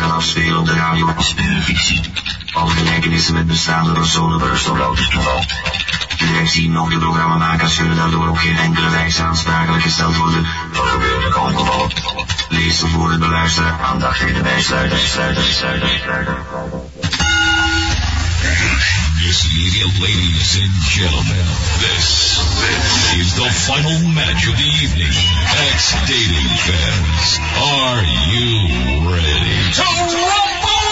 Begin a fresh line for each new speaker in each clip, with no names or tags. afspelende radio en televisie. Al gelijkenissen met bestaande personen, restaurants, Directie nog de programmamakers kunnen daardoor op geen enkele wijze aansprakelijk gesteld worden voor gebeurde ongevallen. Lees de voor het beluisteren aandacht in de bijsluiter, sluiter, sluiter, sluiter.
Yes, ladies and gentlemen, this, this is the final match of the evening. Ex-dating fans, are you ready to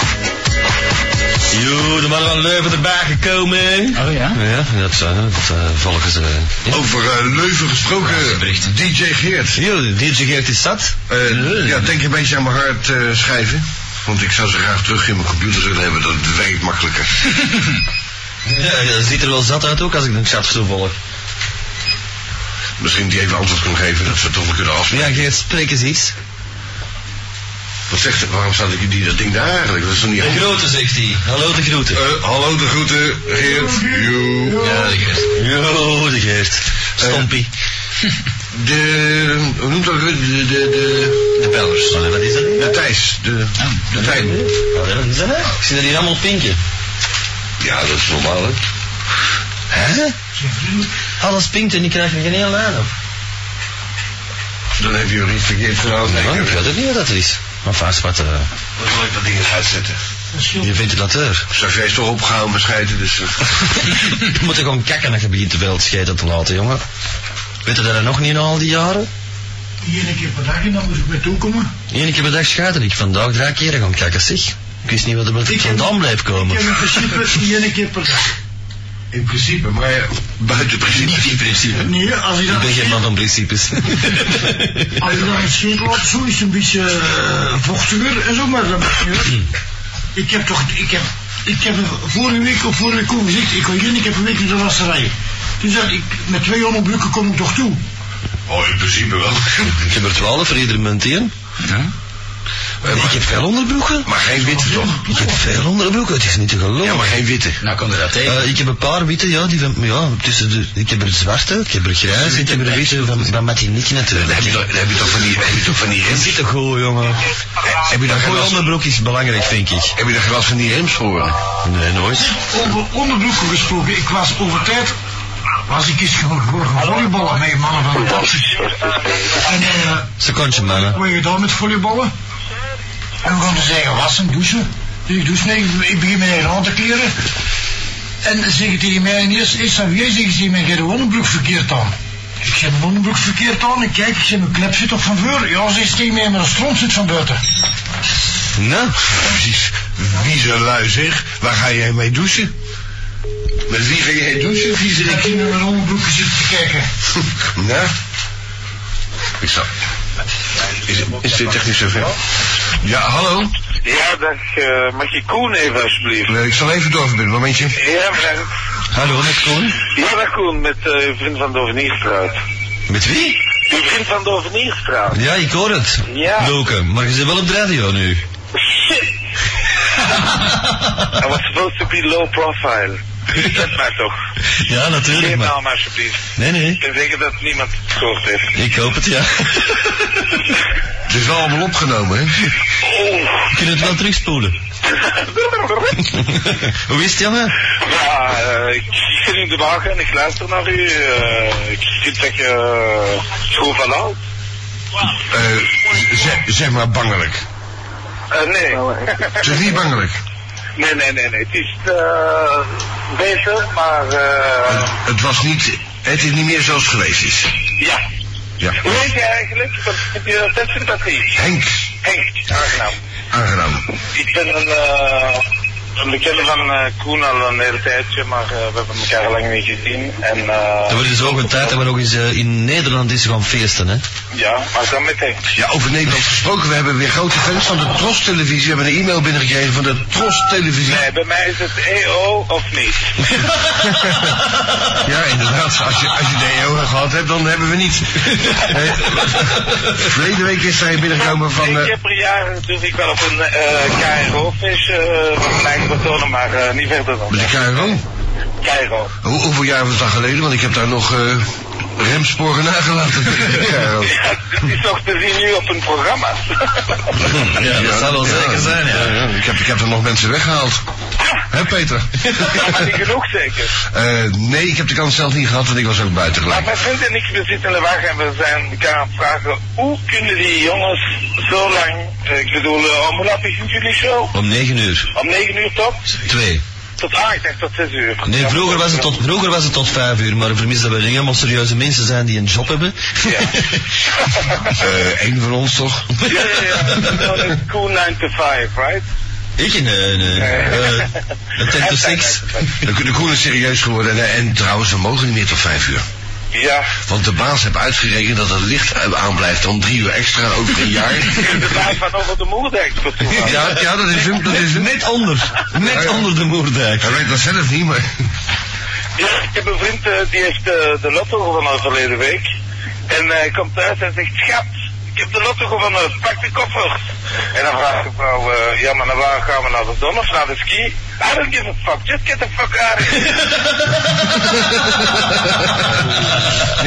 eh,
eh,
Ja, DJ Geert is dat.
Uh, ja, denk een beetje aan mijn hart uh, schrijven. Want ik zou ze graag terug in mijn computer willen hebben, dat werkt makkelijker.
ja, dat ziet er wel zat uit ook als ik de chat zo volg.
Misschien die even antwoord kan geven, dat we toch kunnen afspreken.
Ja, Geert, spreek eens iets. Wat zegt ze? Waarom staat die, die, dat ding daar eigenlijk? Dat is toch niet
De
handig?
groeten, zegt hij. Hallo de groeten.
Eh, hallo de groeten, Geert. Joe.
Ja, de Geert. Jo, de Geert. Stompie.
Eh, De, hoe noemt dat? ook weer? De, de, de, Oh,
De bellers. Maar Wat is dat?
de Thijs. De,
Oh,
de Tijn.
Wat is dat? nou? Ik zie er hier allemaal pinken.
Ja, dat is normaal, hè?
Hè? Alles pinkt en ik krijg er geen hele lijn op.
Dan heb je weer iets verkeerd gedaan.
Nee, ik weet het niet wat dat is. Maar vaak wat, eh,
Dan zal ik dat ding eens uitzetten.
je vindt het lateur.
Xavier is toch opgehouden met scheiden, dus... eh,
je moet er gewoon kakken als je begint te veel scheten te laten, jongen. Weet je dat er nog niet in al die jaren?
Hier een keer per dag en dan moest ik mee toekomen.
Eén keer per dag schaat ik vandaag drie keer gaan kakken, zeg. Ik wist niet wat er met
Ik
ik
heb-
vandaan blijft komen.
Ik heb in principe hier een keer per dag.
In principe, maar eh, buiten principe.
Niet in principe.
Nee, als ik
Ik
dan,
ben geen
een
man van principes.
scheet- als ik dan een scheet laat, zo is het een beetje eh, vochtiger en zo, maar dat maakt niet uit. Ik heb toch, ik heb, ik heb vorige week of vorige week ook gezegd, ik ga hier een keer per week naar de wasserij. Dus dat ik, met 200 bukken kom ik toch toe.
Oh, in principe wel.
Ik heb er twaalf voor iedere munt één.
Eh,
Ik
maar,
heb veel onderbroeken.
maar geen witte, toch?
Ik heb veel onderbroeken, het is niet te geloven.
Ja, maar geen witte.
Nou, kom er dat tegen.
Eh, ik heb een paar witte, ja, die van, ja, tussen de, ik heb er zwarte, ik heb er grijs, ik heb er witte van, van Martinique natuurlijk.
Dan heb je toch, dan heb je toch van die... Heb je toch van die
Dat
rems?
zit toch goed, jongen.
Eh, Heb je daar geen
Een goede
last,
onderbroek is belangrijk, vind ik.
heb je daar geen last van die remsporen?
Nee, nooit.
Over onderbroeken gesproken, ik was over tijd, was ik eens gewoon volleyballen met mannen van de taxi. En eh,
Secondje, mannen.
Nou.
Wat je gedaan met volleyballen? En we gaan ze zeggen wassen, douchen. Dus ik douche niet, ik- ik begin met een aan te kleren. En zeggen tegen mij ineens, eerst aan wie zeggen ze tegen mij, "Je hebt je onderbroek verkeerd aan. Ik zeg mijn onderbroek verkeerd aan, ik kijk, ik zeg mijn klep zit op van voor. Ja, ze is tegen mij, maar de stront zit van buiten.
Nou,
Precies. Wie zo lui zeg, waar ga jij mee douchen? Met wie ga jij douchen? Wie
Ik
zeg
ging naar mijn onderbroek zitten te kijken.
Nou, ik zal... Is, is dit technisch zover? Ja, hallo?
Ja, dag. eh, mag je Koen even alsjeblieft?
Nee, Ik zal even doorverbinden, momentje.
Ja, vraag.
hallo, met Koen.
Ja, dag Koen, met eh, uw vriend van Dovenierstraat.
Met wie?
Uw vriend van Dovenierstraat?
Ja, ik hoor het.
Ja.
Loke,
eh,
maar je zit wel op de radio nu.
Shit! I was supposed to be low profile. Je kent mij toch?
Ja, natuurlijk,
Geen
maar...
naam alsjeblieft.
Nee, nee,
En zeggen dat niemand het gehoord heeft.
ik hoop het, ja.
Het is wel allemaal opgenomen, hè?
Oh!
We kunnen het wel terugspoelen. Hoe is het, Janne?
Ja, eh, ik zit in de wagen en ik luister naar u. eh, ik vind dat je eh, goed van houdt.
Eh, zeg, zeg maar bangelijk.
Eh, nee.
Het is niet bangelijk.
Nee, nee, nee, nee. Het is eh, beter, maar eh
Het was niet... Het is niet meer zoals het geweest is.
ja.
Ja.
Hoe heet je eigenlijk? Wat heb je dat sympathie?
Henk,
Henk, aangenaam.
aangenaam.
nou. Ik ben een, eh, een bekende van eh, Koen al een hele tijdje, maar eh, we hebben elkaar lang niet gezien. En eh,
Dan wordt het dus ook een tijd dat we nog eens eh, in Nederland eens gaan feesten, hè.
ja, maar dan met Henk.
Ja, over Nederland gesproken. We hebben weer grote fans van de Tros Televisie. We hebben een e-mail binnengekregen van de Tros Televisie.
Nee, bij mij is het EO of niet.
Ja, inderdaad. Als je, als je de EO gehad hebt, dan hebben we niets. Eh, Verleden week is hij binnengekomen van...
Eén
eh,
keer per jaar durf ik wel op een eh KRO-feestje eh, van mijn eigen personen, maar eh, niet verder dan
met de KRO.
KRO.
Hoe, hoeveel jaar was dat geleden? Want ik heb daar nog eh, remsporen nagelaten. KRO.
Ja, dit is nog te zien nu op een programma.
Hm, Ja, dat zou wel zeker zijn, ja.
Ja, ik, heb, ik heb er nog mensen weggehaald. Hè, Peter?
Dat was niet genoeg zeker.
Eh, nee, ik heb de kans zelf niet gehad, want ik was ook buiten
Maar
gelijk.
mijn vriend en ik, we zitten in de wagen en we zijn elkaar aan het vragen... hoe kunnen die jongens zo lang... eh, Ik bedoel, eh, om hoe laat begint jullie show?
Om 9 uur.
Om 9 uur tot?
Twee.
Tot 8, echt tot 6 uur.
Nee, vroeger was het tot, vroeger was het tot vijf uur, maar vermis dat we nu helemaal serieuze mensen zijn die een job hebben.
Ja.
Eh Eén van ons toch?
Ja, ja, ja. Dat is cool 9 to 5, right?
Ik? Nee, nee. Eh, Een 10 to 6.
Dan kunnen de Koen is serieus geworden. En, en trouwens, we mogen niet meer tot vijf uur.
Ja,
Want de baas heeft uitgerekend dat het licht aanblijft om drie uur extra over een jaar.
de baas van Dus over de Moerdijk voor toeval.
Ja, ja dat is hem. Dat is hem.
Net onder. Net onder de moerdijk.
Hij weet dat zelf niet, maar...
Ja, ik heb een
eh,
vriend eh, die heeft eh, de lotto gewonnen verleden week. En hij komt thuis en zegt, schat,
ik heb de lotto gewonnen, pak de koffers. En dan vraagt de vrouw, eh, ja maar naar waar gaan we, naar de zon of naar de ski? I don't give a fuck, just get the fuck out of here.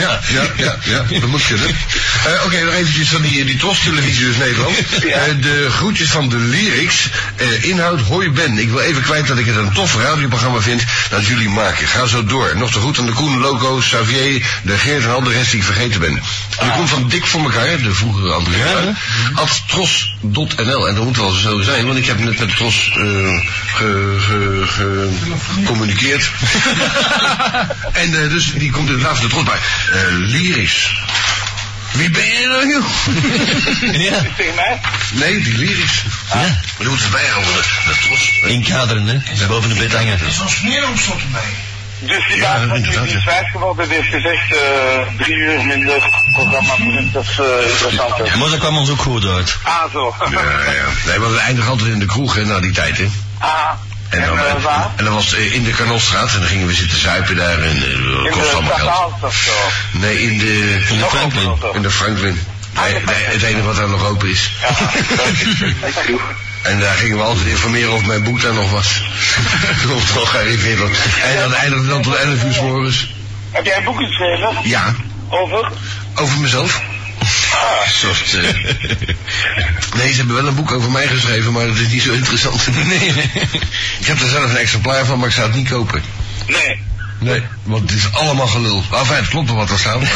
Ja, ja, ja, ja, dat moet kunnen. Eh, Oké, nog eventjes van die, die Tros-televisie dus Nederland. Eh, de groetjes van de lyrics. Eh, inhoud, hoi Ben. Ik wil even kwijt dat ik het een tof radioprogramma vind dat jullie maken. Ga zo door. Nog te goed aan de Koen, Loco, Xavier, de Geert en al de rest die ik vergeten ben. De Koen van Dik voor elkaar, de vroegere André. At tros.nl. En dat moet wel zo zijn, want ik heb net met Tros eh, ge- ge- ge- gecommuniceerd. En eh, dus die komt inderdaad van de trots bij. Eh lyrisch. Wie ben je nou, joh?
Ja.
Dus Tegen mij?
Nee, die lyrisch.
Ja.
Maar dan moeten wij over de, de trots.
Inkaderen, hè? Boven de bed hangen.
Er is wel sneer op slot erbij.
Dus die
Ja,
baas van
inderdaad,
die
ja.
vijfgebouw, dat heeft gezegd, eh, drie uur minder programma, dat is eh, interessant. hè.
Maar dat kwam ons ook goed uit.
Ah, zo.
Ja, ja. Nee, want we eindigen altijd in de kroeg, hè, na die tijd, hè.
Ah, en,
En dan,
eh,
eh,
waar?
en dan was eh, in de Kanolstraat en dan gingen we zitten zuipen daar en eh, dat
In
kost
de
allemaal geld.
Stadhaalt of zo.
Nee, in de...
In de
Nog
Franklin.
ook wel zo.
In de Franklin.
Ah,
Nee,
de Franklin.
nee, het enige wat daar nog open is.
Ja, dat is goed.
En daar gingen we altijd informeren of mijn boek daar nog was. of het al gearriveerd was. En dat eindigde dan tot 11 uur s morgens.
Heb jij een boek geschreven
Ja,
over?
over mezelf.
Ah,
Soort, eh, Nee, ze hebben wel een boek over mij geschreven, maar het is niet zo interessant. Nee. Ik heb er zelf een exemplaar van, maar ik zou het niet kopen.
nee.
Nee, want het is allemaal gelul. Enfin, het klopt wel wat er staat. maar-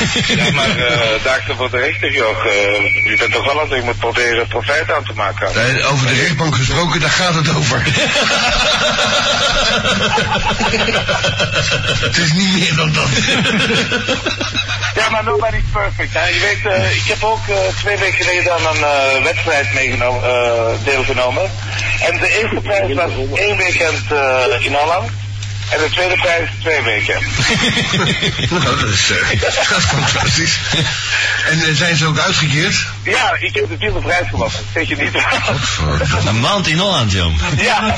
Ja, maar eh daar is voor de rechter, Jog. Eh, je bent toch wel aan het moet proberen profijt aan te maken.
Nee, Eh, over de rechtbank gesproken, daar gaat het over. het is niet meer dan dat.
Ja, maar nobody's perfect. Hè. Je weet, eh, ik heb ook eh, twee weken geleden aan een eh, wedstrijd meegenomen, eh, deelgenomen. En de eerste prijs was één weekend eh, in Holland. En de tweede prijs twee weken.
nou, dat is, eh, dat is fantastisch. En eh, zijn ze ook uitgekeerd?
Ja, ik heb de vierde prijs gewonnen. Weet je niet?
Een maand in Holland, jong.
nou,
ja.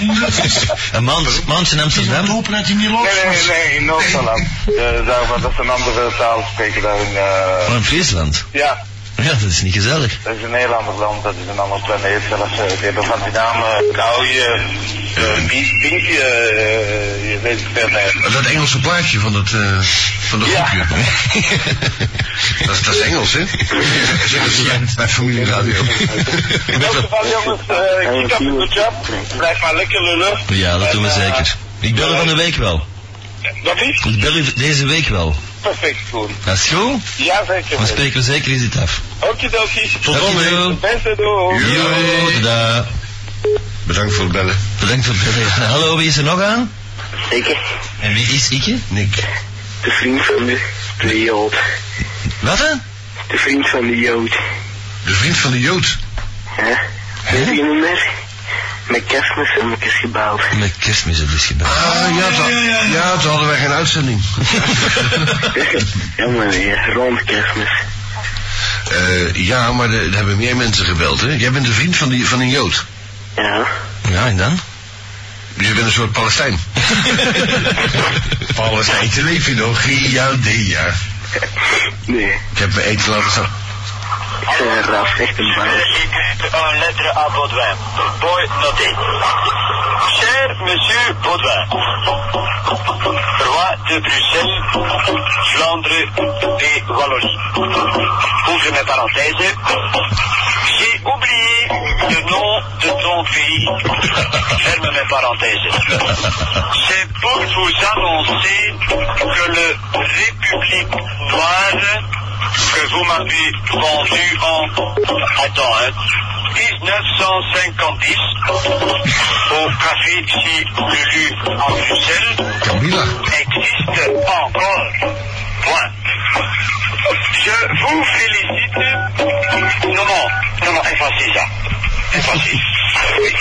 Een maand, maand in
Het
Amsterdam.
hopen dat hij niet los
Nee, nee, nee, in Noord-Holland. Eh, daar, maar dat is een andere taal spreken daar in... eh,
Maar Oh, in Friesland.
ja,
Ja, dat is niet gezellig.
dat is een heel ander land, dat is een ander planeet. Zelfs, eh, die hebben van die namen Kouwje, eh, Bie- Bietje, eh, je weet het veel meer.
Dat Engelse plaatje van dat, eh, van dat
Ja.
groepje. dat, is- dat is Engels, hè? Zeggen ze bij- bij Familie Radio.
In elk geval jongens, eh, keep up the good job. Blijf maar lekker lullen.
Ja, dat doen we
En, eh,
zeker. Ik bel u van de week wel.
Dat is
Ik bel u deze week wel.
perfect, Koen.
Dat is goed.
Ja, zeker.
Dan spreken we zeker eens dit af.
Okidoki.
Tot
De
volgende.
beste doei.
Jo, tada.
Bedankt voor het bellen.
Bedankt voor het bellen. Hallo, wie is er nog aan? Ikke. En wie is Ikke?
Nick.
De vriend van de, de Jood.
Wat hè?
De vriend van de Jood.
De vriend van de Jood.
Hè? Weet je niet meer? Met kerstmis heb ik eens gebouwd.
Hm.
Met kerstmis heb ik dus gebeld.
Ah, ja, toen, ja, toen hadden wij geen uitzending.
ja meneer, rond kerstmis.
Eh, ja, maar er er hebben meer mensen gebeld, hè? Jij bent de vriend van, die, van een Jood.
Ja.
Ja, en dan?
Dus je bent een soort Palestijn. Palestijnse leef je nog? Giudea.
Nee.
Ik heb mijn eten laten staan.
Ik ben een ras, echt een barretje.
un lettre à Baudouin. Boy, notez. Cher Monsieur Baudouin, roi de Bruxelles, Flandre et Wallonie. Ouvre mes parenthèses. J'ai oublié le nom de ton pays. Ferme mes parenthèses. C'est pour vous annoncer que le République noire que vous m'avez vendu en attends, hein, 1950 au café ici Lulu à Bruxelles
Camilla.
existe encore. Point. Je vous félicite. Non, non, non, non, effacez ça. Effacez. Oui.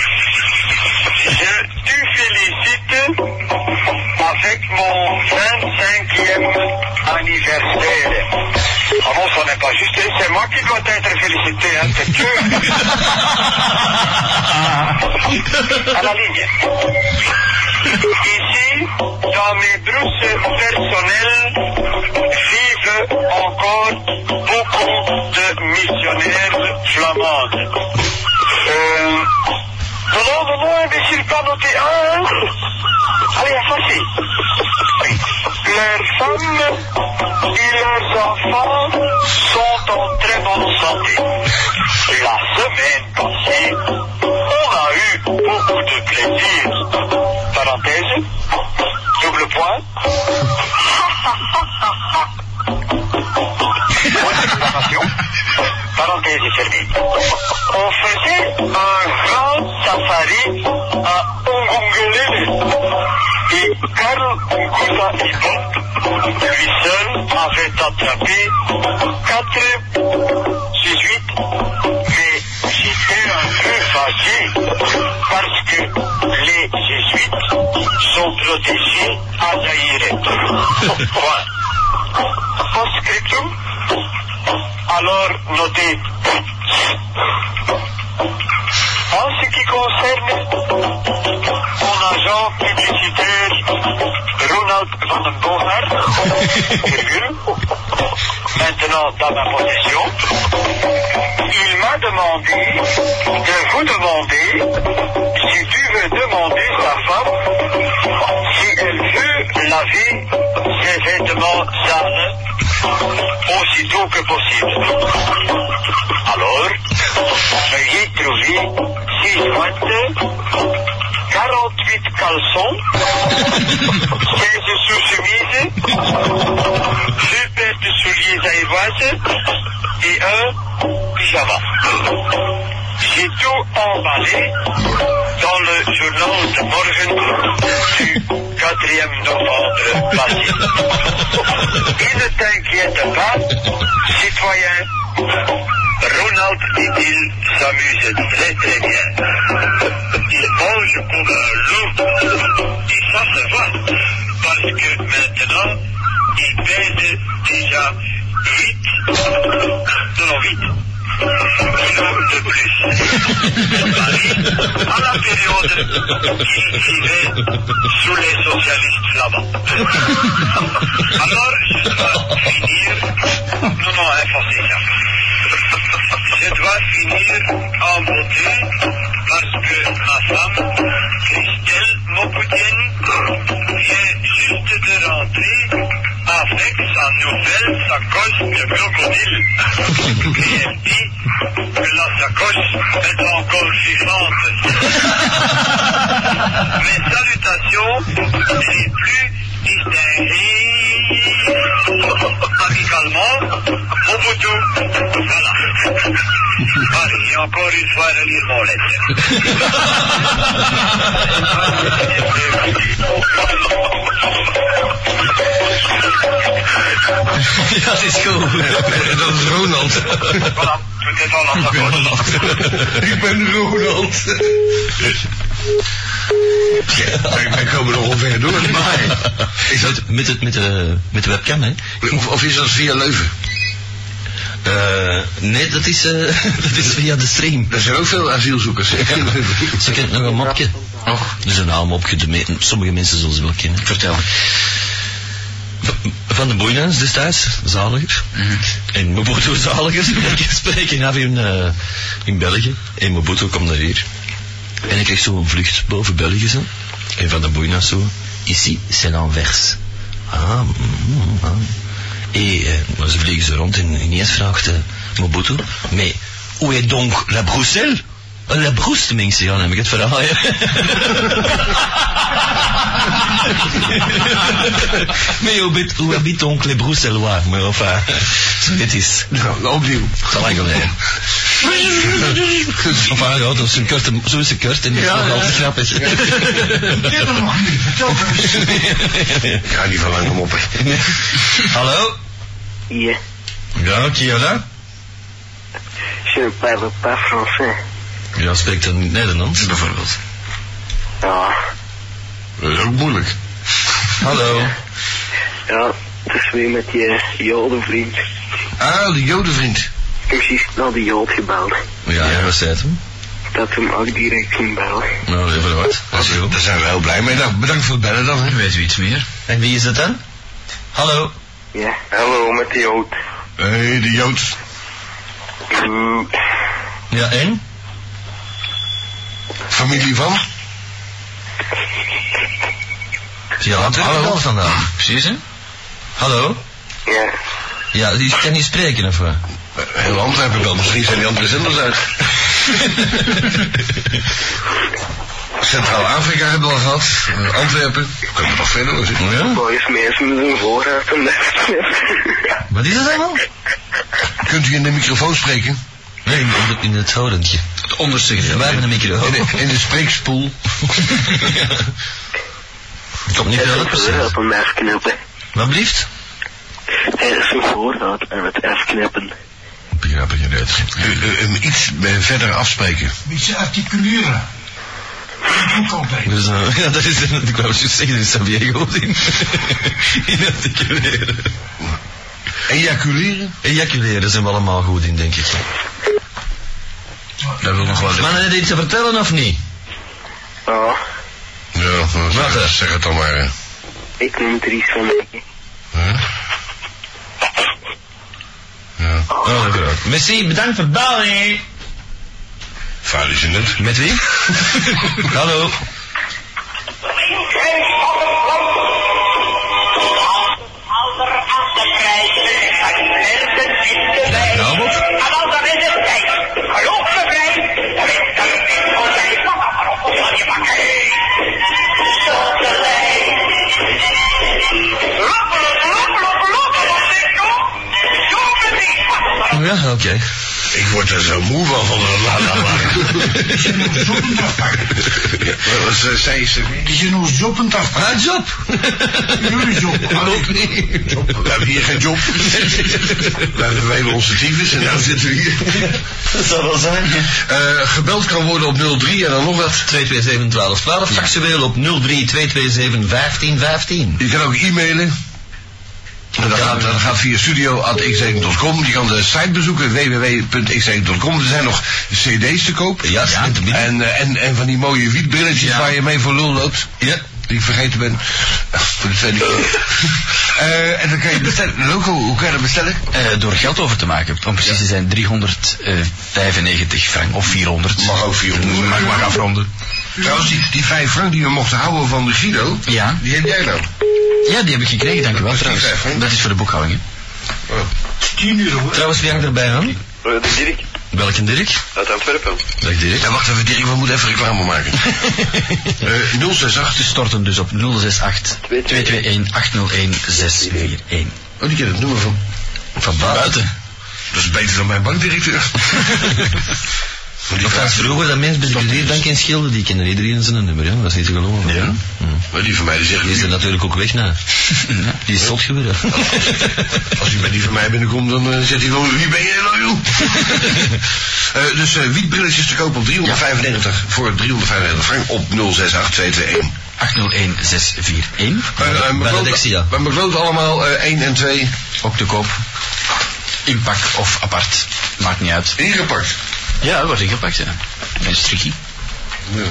Je te félicite avec mon 25e anniversaire. Ah bon, ça n'est pas juste. C'est moi qui dois être félicité, hein, c'est tu. À la ligne. Ici, dans mes brousse personnelles, vivent encore beaucoup de missionnaires Euh, hein. présenter. La semaine passée, on a eu beaucoup de plaisir. Parenthèse, double point. Point d'exclamation. Parenthèse fermée. On faisait un grand safari à Ongongolele. Et Karl Onguta Ibon, lui seul, avait attrapé 4, 18, mais j'étais un peu fâché parce que les jésuites sont protégés à Zaïre. Voilà. Post-scriptum, alors notez. En ce qui concerne mon agent publicitaire Ronald Van den Boer, virgule, maintenant dans ma possession, il m'a demandé de vous demander si tu veux demander sa femme si elle veut laver ses vêtements sales aussitôt que possible. Alors, veuillez trouver 6 jointes, 48 caleçons, 15 sous-chemises, 2 paires de souliers taïwanais et un pyjama. J'ai tout emballé dans le journal de Morgen du 4e novembre passé. Et ne t'inquiète pas, citoyen, Ronald dit-il s'amuse très très bien. Il mange comme un loup. Et ça se voit, parce que maintenant, il pèse déjà 8, non 8 kilos de plus. Paris, à la période qu'il vivait sous les socialistes flamands. Alors, je dois finir. Non, hein, non, impossible. Je dois finir en beauté parce que ma femme, Christelle Mokoutienne, vient juste de rentrer avec sa nouvelle sacoche de crocodile. Et elle dit que la sacoche est encore vivante. Mes salutations les plus distinguées amicalement au bout Voilà. Allez, encore une fois, relire mon
Dat is cool.
Dat is Ronald.
Voilà, tout est en ordre.
Ik ben Ronald. Ja, wij- wij komen nog onver door. niet?
Is dat met, het, met, de, met de webcam, hè?
Of, of is dat via Leuven?
Eh, nee, dat is, eh, dat is via de stream.
Er zijn ook veel asielzoekers. hè, in Leuven.
Ze kent nog een mopje. Och, dus een oude mopje. De me- sommige mensen zullen ze wel kennen. Vertel. Van de Boeienhuis destijds, zaliger. En Mobutu zaliger. Ik spreek in af in, eh, in België. En Mobutu komt naar hier. En ik kreeg zo'n vlucht boven België zo. En Van de Boeienhuis zo. Ici, c'est l'inverse. Ah, mm, ah. Et, eh, maar ze vliegen ze rond en ineens vraagt eh, Mobutu, mais où est donc la Bruxelles? Eh, La Broest, mensen, ja, dan heb ik het verhaal. hè. mais où habite, où habite donc les Bruxellois? Maar enfin, zo het is.
Nou, opnieuw.
Te lang geleden. Enfin, ja, dat is een korte, zo is het kort en dat is
Ja,
nog
ja.
altijd grappig.
Dit nog nog niet. Vertel me eens.
Ja, die van Langem op.
Hallo?
Yeah.
Ja, qui est là?
Je ne parle pas français.
Ja, spreekt dan niet Nederlands? Bijvoorbeeld.
Ja.
Dat is ook moeilijk.
Hallo.
Ja, het is weer met je jodenvriend.
Ah, de jodenvriend.
Precies, nou die jood gebeld.
Ja, ja, wat zei het hem?
Dat hem ook direct ging bellen.
Nou, even wat.
Dat is- Daar zijn we heel blij mee. Nou, bedankt voor het bellen dan. hè.
Weet u iets meer? En wie is dat dan? Hallo.
Ja. Hallo, met die jood.
Hé, hey, de jood.
Mm,
Ja, en?
Familie van?
Ja, Antwerpen
Hallo.
al vandaan. Precies, hè? Hallo.
Ja.
Ja, die kan niet spreken of wat?
Eh, Heel Antwerpen wel, misschien zijn die andere zenders uit. Centraal-Afrika hebben we al gehad, eh, Antwerpen, kunnen we nog verder hoor. zeg.
Boys, mensen met een voorraad en dat.
Wat is dat allemaal?
Kunt u in de microfoon spreken?
Nee, in, in, in het houdendje.
Het onderste gedeelte.
Wij hebben een micro.
In de, in de spreekspoel.
Het komt niet
Het
veel
is
uit,
een
precies.
voorraad en afknippen.
Wat blieft?
Er Eh, is een voorraad en het afknippen.
Begrijp ik niet uit. U- u- hem iets eh, verder afspreken.
beetje articuleren. Dat doe ik altijd.
Dus, eh, ja, dat is, ik wou juist zeggen, dat is San Diego in, in articuleren.
Ejaculeren?
Ejaculeren zijn we allemaal goed in, denk ik.
Dat wil nog wel
Mannen, heb je iets te vertellen of niet?
Oh,
Ah.
Ja, nou,
Wat,
zeg,
hè?
zeg het dan maar. hè.
ik neem er iets van mee.
Huh? Ja,
Oh, leuk. Merci, bedankt voor het bellen.
vuil is het net.
Met wie? Hallo. Nou, Bob. Ja, oké.
Ik word er zo moe van, van de la la la. Ja, Wat ze- zei ze?
Die zijn ons job aan het af.
Ah, job.
Jullie job.
Ook niet.
We hebben hier geen job. We hebben wij hebben onze tyfus en nu zitten we hier.
Dat zou wel zijn.
Eh, gebeld kan worden op 03 en dan nog wat.
227 12 12, faxueel op 03 227 15 15.
Je kan ook e-mailen. En Dat gaat, dat gaat via studio.x1.com. Je kan de site bezoeken, www.x1.com. Er zijn nog cd's te koop.
Ja, ja. te bieden.
En, eh, en, en van die mooie wietbilletjes
Ja.
waar je mee voor lul loopt.
Ja.
Die ik vergeten ben. Voor de tweede keer. Eh, en dan kan je bestellen. Loco, hoe kan je dat bestellen?
Eh, door geld over te maken. Om precies te zijn 395 frank of 400.
Mag ook 400.
Mag, mag afronden.
Trouwens, die, die vijf frank die we mochten houden van de Guido,
Ja.
die heb jij nou.
Ja, die heb ik gekregen, dank u wel
Dat is niet
trouwens.
erg, hè?
Dat is voor de boekhouding. hè.
Tien uur hoor.
Trouwens, wie hangt erbij aan?
Eh, De Dirk
Welke Dirk?
uit Antwerpen.
Dag Dirk.
Ja, wacht even, Dirk, we moeten even reclame maken. Eh 068.
Te storten dus op 068 221 801 641.
Oh, die kent het nummer van.
Van buiten.
Dat is beter dan mijn bankdirecteur. Maar die
Of als
vraagt-
vroeger dat mensen bij de Bank en Schilden, die kennen iedereen zijn nummer, ja. dat is niet te geloven.
Ja.
Hm.
Maar die van mij die zegt,
Die is er
nu,
natuurlijk ook weg na. Die is zot geworden.
als hij bij die van mij binnenkomt, dan eh, zegt hij gewoon, wie ben je nou joh? Eh, dus eh wietbrilletjes te koop op 395 voor 395 frank op 068221.
801 641.
Bij, bij,
Benedictia.
McLeod- bij McLeod allemaal eh 1 en 2
Ook te koop. In pak of apart. Maakt niet uit.
ingepakt.
Ja, wordt ingepakt, ja. Een strikkie.
Ja.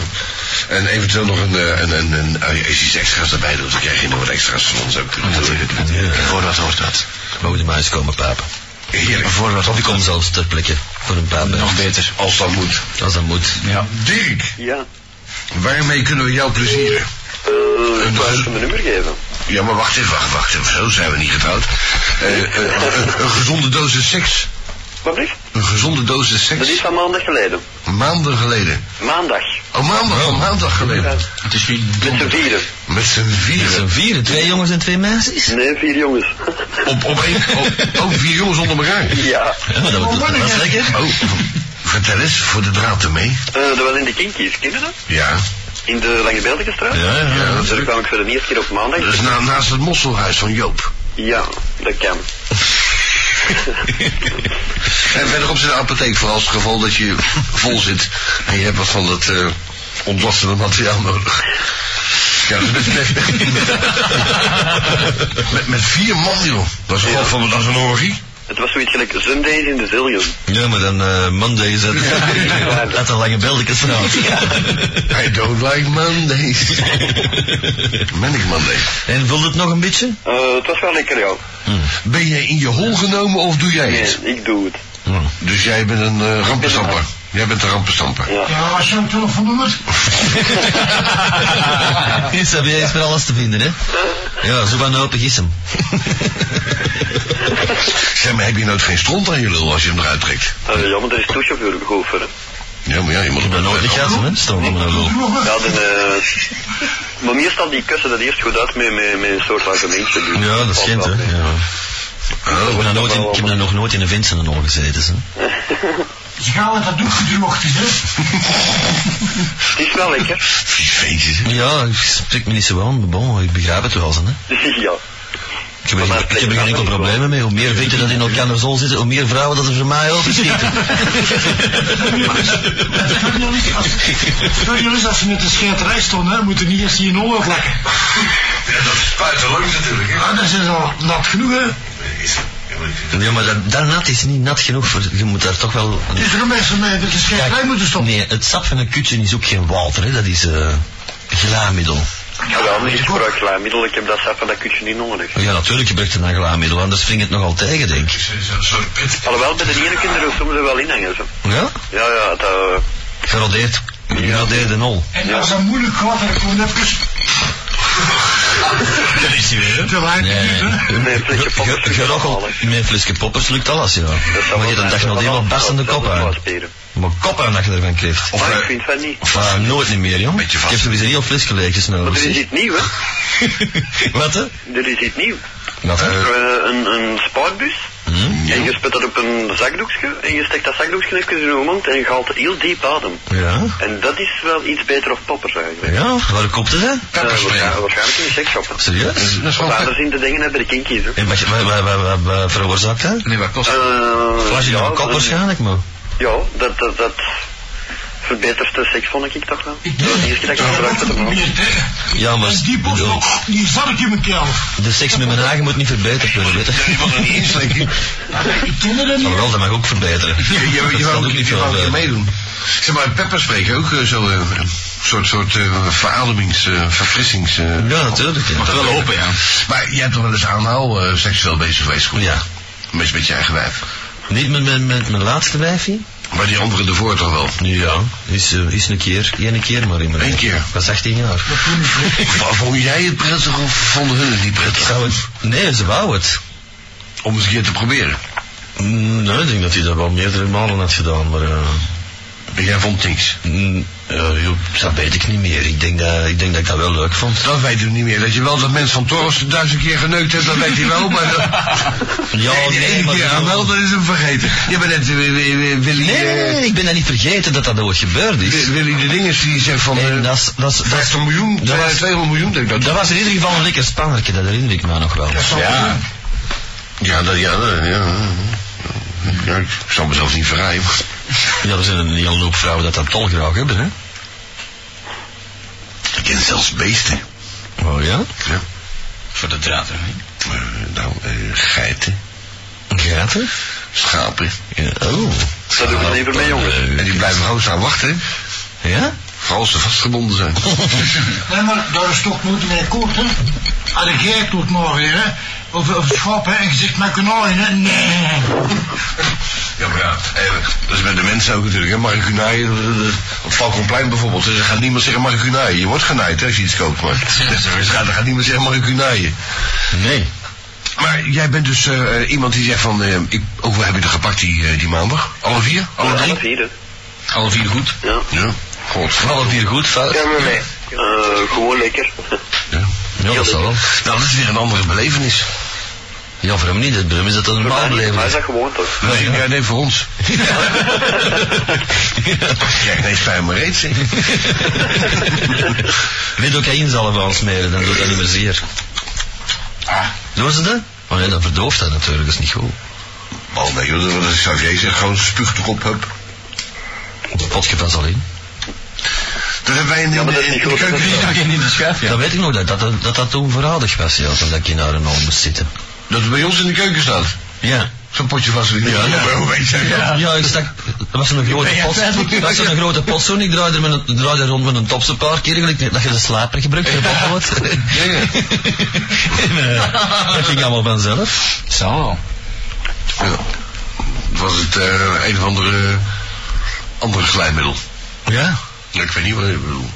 En eventueel nog een, eh, een, een, een, als je iets extra's erbij doet, dan krijg je nog wat extra's van ons ook.
Voor wat hoort dat?
Mogen die maar eens komen papen.
Heerlijk.
Bijvoorbeeld. Of ik kom zelfs ter plekke voor een paar
Nog
mensen.
beter.
Als dat moet.
Als dat moet.
Ja.
Dirk,
Ja.
waarmee kunnen we jou plezieren?
Eh, ik wou ze mijn nummer geven.
Ja, maar wacht even, wacht, wacht even. Zo zijn we niet getrouwd. Eh, eh, eh, een gezonde dosis seks.
Wat
Dus-
lief?
Een gezonde dosis
Dat is
seks.
van maandag geleden.
Maanden geleden.
Maandag.
Oh, maandag, oh, maandag geleden.
Het is nu
Met z'n vieren.
Met z'n
Met
vieren.
z'n vieren, twee jongens en twee meisjes.
Nee, vier jongens.
Op, op één, op, ook vier jongens onder elkaar.
ja.
Ja, maar dat, wordt- dat is lekker.
Oh, vertel eens, voor de draad ermee.
Eh, dat was in de Kinkies, ken je dat?
Ja,
In de Lange Belgische
Ja, Dus- ja, ja.
Daar kwam ik voor de eerste keer op maandag.
dat is Dus na- naast het mosselhuis van Joop.
Ja, dat kan.
En verderop zit de apotheek voor als het geval dat je vol zit en je hebt wat van dat eh ontlastende materiaal nodig. Ja, dus met, met, met, met vier man, joh. Dat is, ja. van, dat is een orgie.
Het was zoiets gelijk Sundays in de Zillion.
Ja, maar dan eh Monday is dat. Dat een lange beeldjes verhaal.
I don't like Mondays. Ben ik Monday?
En vult het nog een beetje?
Eh, het was wel lekker, ja.
Hm.
Ben jij in je hol genomen of doe jij het?
Nee, ik doe het.
Dus jij bent een eh, rampenstamper. Jij bent een rampenstamper.
Ja, zo'n telefoonnummer.
Ah, Is dat is met alles te vinden,
Oh,
hè? Ja, zo van open is hem.
Zeg maar, heb je nooit geen stront aan je lul als je hem eruit trekt?
Eh, ja, maar er is toechauffeur goed voor hem.
Ah.
Ja, maar ja, je moet hem nooit niet
Ja, hè? Stond hem nou wel.
Ja, dan, eh, maar meestal die kussen dat eerst goed uit met, met, met een soort argumentje. Dus
Ja, dat schijnt, hè? Ja. Ik heb daar nooit in- ik heb daar nog nooit in een vent zijn al gezeten, hè?
Ze gaan met dat doek gedrocht is, hè.
Het is wel lekker.
Vies feestjes, hè?
Ja, Ah, ik spreek me niet zo aan, maar bon, ik begrijp het wel, hè?
Dus, ja.
Ik heb, er- ik heb er geen enkel probleem mee. Hoe meer venten dat in elkaar zol zitten, hoe meer vrouwen dat er voor mij openschieten.
Het kan nog niet. als- Het kan nog niet als ze met de scheiterij stonden, hè. Moeten niet eerst hier in Holland lekken.
Ja, dat spuit er langs natuurlijk, hè?
Ja, dat is al nat genoeg, hè.
Ja, maar dat, dat nat is niet nat genoeg. Voor, je moet daar toch wel...
Dus de mensen mee met de scheiterij
Kijk,
moeten stoppen.
Nee, het sap van een kutje is ook geen water, hè. Dat is eh glaamiddel.
Ja, maar ik gebruik glijmiddel. Ik heb dat sap en dat kutje niet nodig.
Ja, natuurlijk gebruikt het een glaamiddel, anders ving het nogal tegen, denk ik.
Zo'n pit.
Alhoewel, bij de ene kinderen soms er wel in hangen. Zo.
Ja?
Ja, ja, dat... eh,
Gerodeerd. Gerodeerde nol.
En als dat moeilijk gaat, dan kom je even
Dat is hij weer,
te laat
Nee, nee.
doen, hè.
Nee, een flesje poppers lukt allemaal,
Gerochel met een flesje poppers lukt alles, ja.
dat zou
Maar je
wel
hebt een dag
zijn.
nog helemaal best aan de kop
Dat
aan.
is wel spelen.
Maar kop aan dat je ervan krijgt.
Maar ik vind van niet.
Of eh, nooit niet meer, jong. Ik
Beetje vast.
heb sowieso een heel fles geleegjes
Maar
nodig.
er is
zeg.
iets nieuw, hè.
Wat, hè?
Er is iets nieuw.
Wat, hè?
Eh, een, een spuitbus.
Hm?
En je spit dat op een zakdoekje. En je steekt dat zakdoekje even in je mond en je haalt heel diep adem.
Ja.
En dat is wel iets beter of poppers eigenlijk.
Ja, waar koopt het, hè?
Eh, waarsch- waarschijnlijk in de seksshoppen.
Serieus?
Want anders in de dingen hebben de kinkies, hè.
En wat, wat, wat, wat, wat, wat veroorzaakt dat?
Nee, wat kost dat?
Eh,
Flasje
ja,
van kop
dat-
waarschijnlijk, maar...
Ja, dat, dat, dat verbetert de seks, vond ik toch wel.
Ik
Dat is de eerste dat ik gebruikt heb. man.
Ja, maar...
Die bos
bedoel,
Oh,
nog, die zat ik in mijn keel.
De seks met mijn eigen moet niet verbeterd worden, weet je.
Ik ken dat niet.
Maar wel, dat mag ook verbeteren.
Je, je, je,
Dat
wou
kan
ook
ook niet
niet je wou ook niet
verbeteren.
meedoen. Zeg maar, peppers spreken ook eh, zo eh, een soort, soort eh, verademings, eh, verfrissings... eh,
Ja, natuurlijk. Ja.
mag wel hopen,
ja.
Maar jij hebt toch wel eens aanhaal eh, seksueel bezig geweest, goed?
Ja.
Met, met je eigen wijf.
Niet met, mijn- met mijn laatste wijfje?
Maar die andere ervoor toch wel?
Ja, is, eh, is een keer. Eén keer maar in mijn
Eén
leven.
keer?
Dat is 18 jaar.
V- Vond jij het prettig of vonden hun het niet prettig?
Zou het... Nee, ze wou het.
Om het een keer te proberen.
Mm, Nee, ik denk dat hij dat wel meerdere malen had gedaan, maar... eh,
En jij vond niks.
mm, eh, joh, dat weet ik niet meer. Ik denk, dat, ik denk dat ik dat wel leuk vond.
Dat weet u niet meer. Dat je wel dat mens van Torres duizend keer geneukt hebt, dat weet hij wel. Maar dat...
Ja,
Nee, die
nee,
ene
maar
keer
bedoel-
aan wel, dat is hem vergeten. Je bent net eh, Wi- Wi- Wi- Willy...
Nee, nee, nee,
eh,
nee, ik ben dat niet vergeten dat dat ooit gebeurd is.
Wi- Willy de dinges die zegt van...
En
eh,
dat is- dat is- dat is
50 miljoen,
dat was-
200 miljoen denk ik
Dat
dat.
was in ieder geval een lekker spannertje, dat herinner ik me nog wel.
Ja. Ja, dat, ja, dat, ja. Ja, ik zal mezelf niet verrijden.
Ja, er zijn een hele hoop vrouwen dat dat al graag hebben, hè?
Ik ken zelfs beesten.
Oh ja?
Ja.
Voor de draad, hè?
Eh, nou, eh, geiten,
Gaten?
schapen.
Ja, oh.
Dat doen we even mee, jongens.
En die blijven gewoon staan wachten, hè.
Ja?
Vooral als ze vastgebonden zijn.
Nee, maar daar is toch nooit mee akkoord, hè? Had ik jij tot morgen weer, hè? Of, of het schap, hè? En je zegt, maar kanaaien, hè? Nee.
Ja, maar ja, eh, dat is met de mensen ook natuurlijk. hè. Maricunaai, eh, eh, op Valkenplein bijvoorbeeld. Er gaat niemand zeggen maricunaai. Je wordt genaaid hè, als je iets koopt, maar er gaat, er gaat niemand zeggen maricunaai.
Nee.
Maar jij bent dus eh, eh, iemand die zegt van, eh, ik, ook hoeveel heb je er gepakt die, eh, die maandag? Alle vier? Alle
Alle
drie?
vier, hè.
Alle vier goed?
Ja.
Ja. God, alle vier goed, fout.
Ja, maar nee. Eh, gewoon lekker.
Ja.
Ja, dat zal wel.
Nou, dat is weer een andere belevenis.
Ja, voor hem niet. Het probleem is dat dat een normaal
Maar
leven
hij is
is.
dat gewoon toch?
Nee, ja, nee, voor ons. Ja, nee, spijt me reeds. hè.
Weet ook, hij inzalven aansmeren, dan doet dat niet meer zeer.
Ah.
Doen ze dat? Oh nee, dan verdooft dat natuurlijk, dat is niet goed.
Oh nee, joh, dat is zou jij zeggen, gewoon spuug erop, hup.
Een potje van zal in.
Dat hebben wij in de,
Ja, maar dat is niet
in de
goed,
keuken
dat is
niet.
in de schuif, ja. Dat weet ik nog, dat dat, dat, dat toen voorradig was, ja, toen dat ik in haar en al moest zitten.
Dat het bij ons in de keuken staat.
Ja.
Zo'n
Zo'n potje was er niet. Ja,
Ja, ja, ik stak, dat was een grote pot. Dat was een grote pot zo'n, ik draaide, met een, draaide rond met een tops een paar keer, gelijk dat je de slaper gebruikt, je pot wordt. En, eh, dat ging allemaal vanzelf.
Zo.
Was het eh, een of andere, andere slijmiddel?
Ja.
Ja, ik weet niet wat ik bedoel.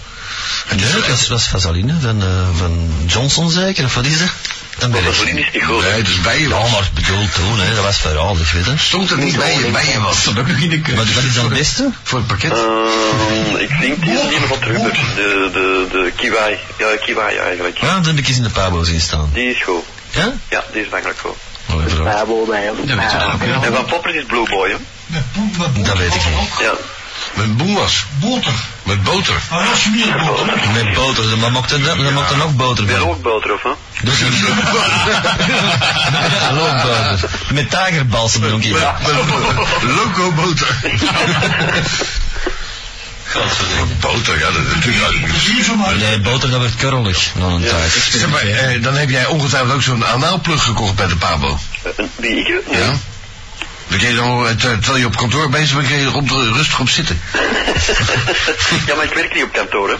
Nee, dat was, was Vaseline van, eh, van Johnson zeker, of wat is dat? Dan ben ik.
Vaseline is niet goed.
Nee, het is bijenwas.
Ja, maar bedoel toen, hè, dat was verraderlijk, weet je.
Stond er niet bijen, bijenwas? Stond ook nog in de
Wat, wat is dan het beste?
Voor het pakket?
Ehm, ik denk die is die van Trummer. De, de, de kiwai. Ja, kiwai eigenlijk.
Ja, dan heb ik eens in de pabo zien staan.
Die is goed.
Ja?
Ja, die is makkelijk goed.
Allee, vooruit.
Pabo bij hem.
En van Poppers is Blue Boy, hè?
Met poep, met boter.
Dat weet ik niet.
Ja.
Met boenwas.
Boter.
Met boter.
Maar als je meer boter.
Met boter, dan mocht er, dan mocht er nog boter bij.
Weer ook boter, of hè?
Dus een loopboter. Met tagerbalsem dronk je.
Met, met loco boter. boter, ja, dat is natuurlijk...
Hier van mij.
Nee, boter dat werd korrelig na een tijd.
Zeg maar, eh, dan heb jij ongetwijfeld ook zo'n anaalplug gekocht bij de Pabo.
Eh, Die ik? hè?
Ja. Dan kun je dan, eh, ter- terwijl je op kantoor bezig bent, kun je er op, rustig op zitten.
ja, maar ik werk niet op kantoor, hè?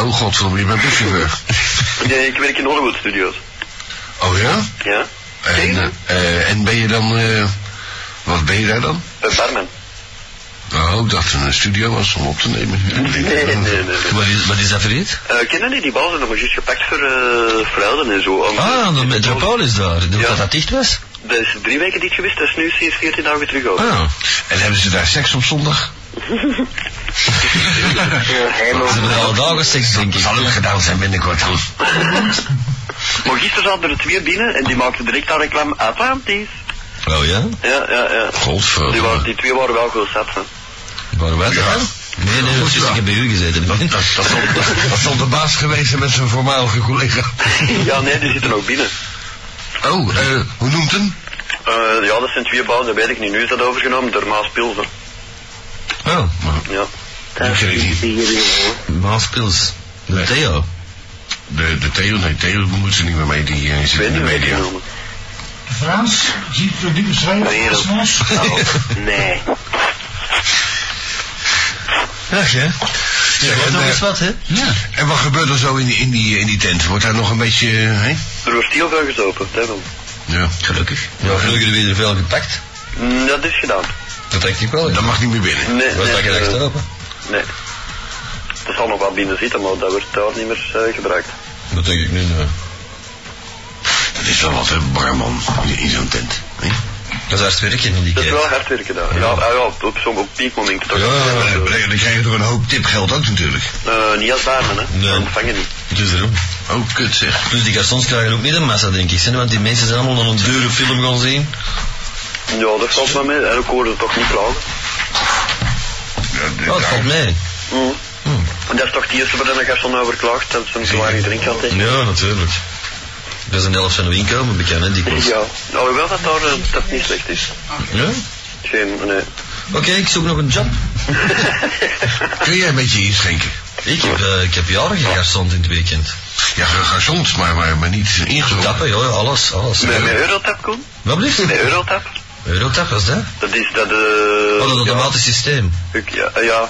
Oh godverdomme, je bent buschauffeur.
Nee, ik werk in Hollywood Studios.
Oh ja?
Ja?
En, eh, en ben je dan, eh, wat ben je daar dan?
Een barman.
Nou, ik dacht dat het een studio was om op te nemen.
Nee, nee, nee. nee.
Wat is, wat is dat voor iets?
Eh, kennen die die bal zijn nog maar juist gepakt voor eh fraude en zo? Om-
Ah, de metropolis daar. Dat dat dicht was?
Dat is drie weken dicht geweest, dat is nu sinds 14 dagen terug ook.
Ah. En hebben ze daar seks op zondag?
Ze hebben al dagen seks, denk
Dat
ik.
zal ook gedaan zijn binnenkort. dan.
Maar gisteren zaten er twee binnen en die maakten direct al reclame Atlantis.
Oh ja?
Ja, ja, ja. Die, waren,
Godverdomme.
die twee waren wel goed zat. hè.
Waar wij dan? Nee, nee, dat is ik heb bij u gezeten.
Dat zal, dat zal de baas geweest zijn met zijn voormalige collega.
ja, nee, die zitten ook binnen.
Oh, eh, hoe noemt hem?
Eh, ja, dat zijn twee bouwen, dat weet ik niet. Nu is dat overgenomen door Maas Pilsen.
Oh,
Ja.
Dat weet ik niet.
Maas Pils. Theo.
De, de Theo, nee, Theo moet ze niet meer mee, die eh,
Ik
zit
weet
in de
niet meer
media.
genomen.
Frans, ziet er niet
Nee,
beschrijven
dat-
als Frans.
Nee.
Ach ja.
Zeg,
Dat
en,
nog
eh,
eens wat, hè?
Ja.
en wat gebeurt er zo in die, in die, in die tent? Wordt daar nog een beetje... eh, Hè?
Er wordt heel veel gezopen, dat wel.
Ja, gelukkig.
Ja, gelukkig weer veel gepakt.
Mm, Dat is gedaan.
Dat denk ik wel.
Dat mag niet meer binnen.
Nee,
Wat
nee,
dat je
eh,
recht open?
nee. Er zal nog wat binnen zitten, maar dat wordt daar niet meer eh, gebruikt.
Dat denk ik niet,
Dat is wel wat, hè, barman, in, in zo'n tent. Hè?
Dat is hard werken in die
Dat is
keer.
wel hard werken daar. Ja, ah ja op, op zo'n op piekmomenten toch.
Maar dan betekent- dan krijg je toch een hoop tipgeld ook natuurlijk.
Eh, niet als barman, hè.
Nee.
Nee. Ontvangen niet.
Dus daarom.
Oh, kut zeg.
Dus die garçons krijgen ook niet een massa, denk ik. hè, Want die mensen zijn allemaal een dure film gaan zien.
Ja, dat valt wel mee. En ik hoorde het toch niet klagen.
Ja, de-
Oh, dat valt mee.
Mm. Dat is toch het eerste waar een garçon over klaagt, nou dat ze een te weinig drink had. hè.
Ja, natuurlijk. Dat is een helft van de inkomen bekend, hè, die kost.
Ja, alhoewel dat daar eh, dat niet slecht is.
Ja?
Geen, nee.
Oké, ik zoek nog een job.
Kun jij een beetje inschenken?
Ik heb, eh, ik heb jaren gegarçond in het weekend.
Ja, ga- ga soms, maar, maar, maar niet ingezonden.
Tappen, joh, alles, alles.
Met, met Eurotap, Koen?
Wat blijft
Met
er?
Eurotap?
Eurotap, was dat?
Dat is dat...
Oh, dat
eh ja,
automatisch systeem.
ik- ja, eh, ja,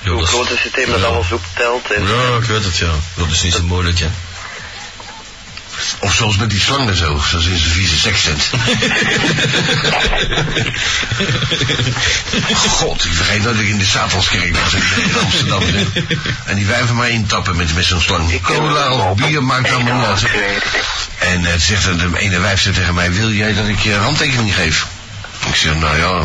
Ja,
zo'n
dat is-
grote systeem dat
ja.
alles optelt. En,
Ja, ik weet het, ja. Dat is niet zo moeilijk, hè.
Of zoals met die slang en zo, zoals in zijn vieze sekstent. God, ik vergeet dat ik in de Satanskerk was in eh, Amsterdam. hè. En die wijven maar intappen met, met zo'n slang. Cola of bier maakt allemaal niet uit. En het zegt dat de ene wijf zei tegen mij, wil jij dat ik je een handtekening geef? Ik zeg, nou ja, eh,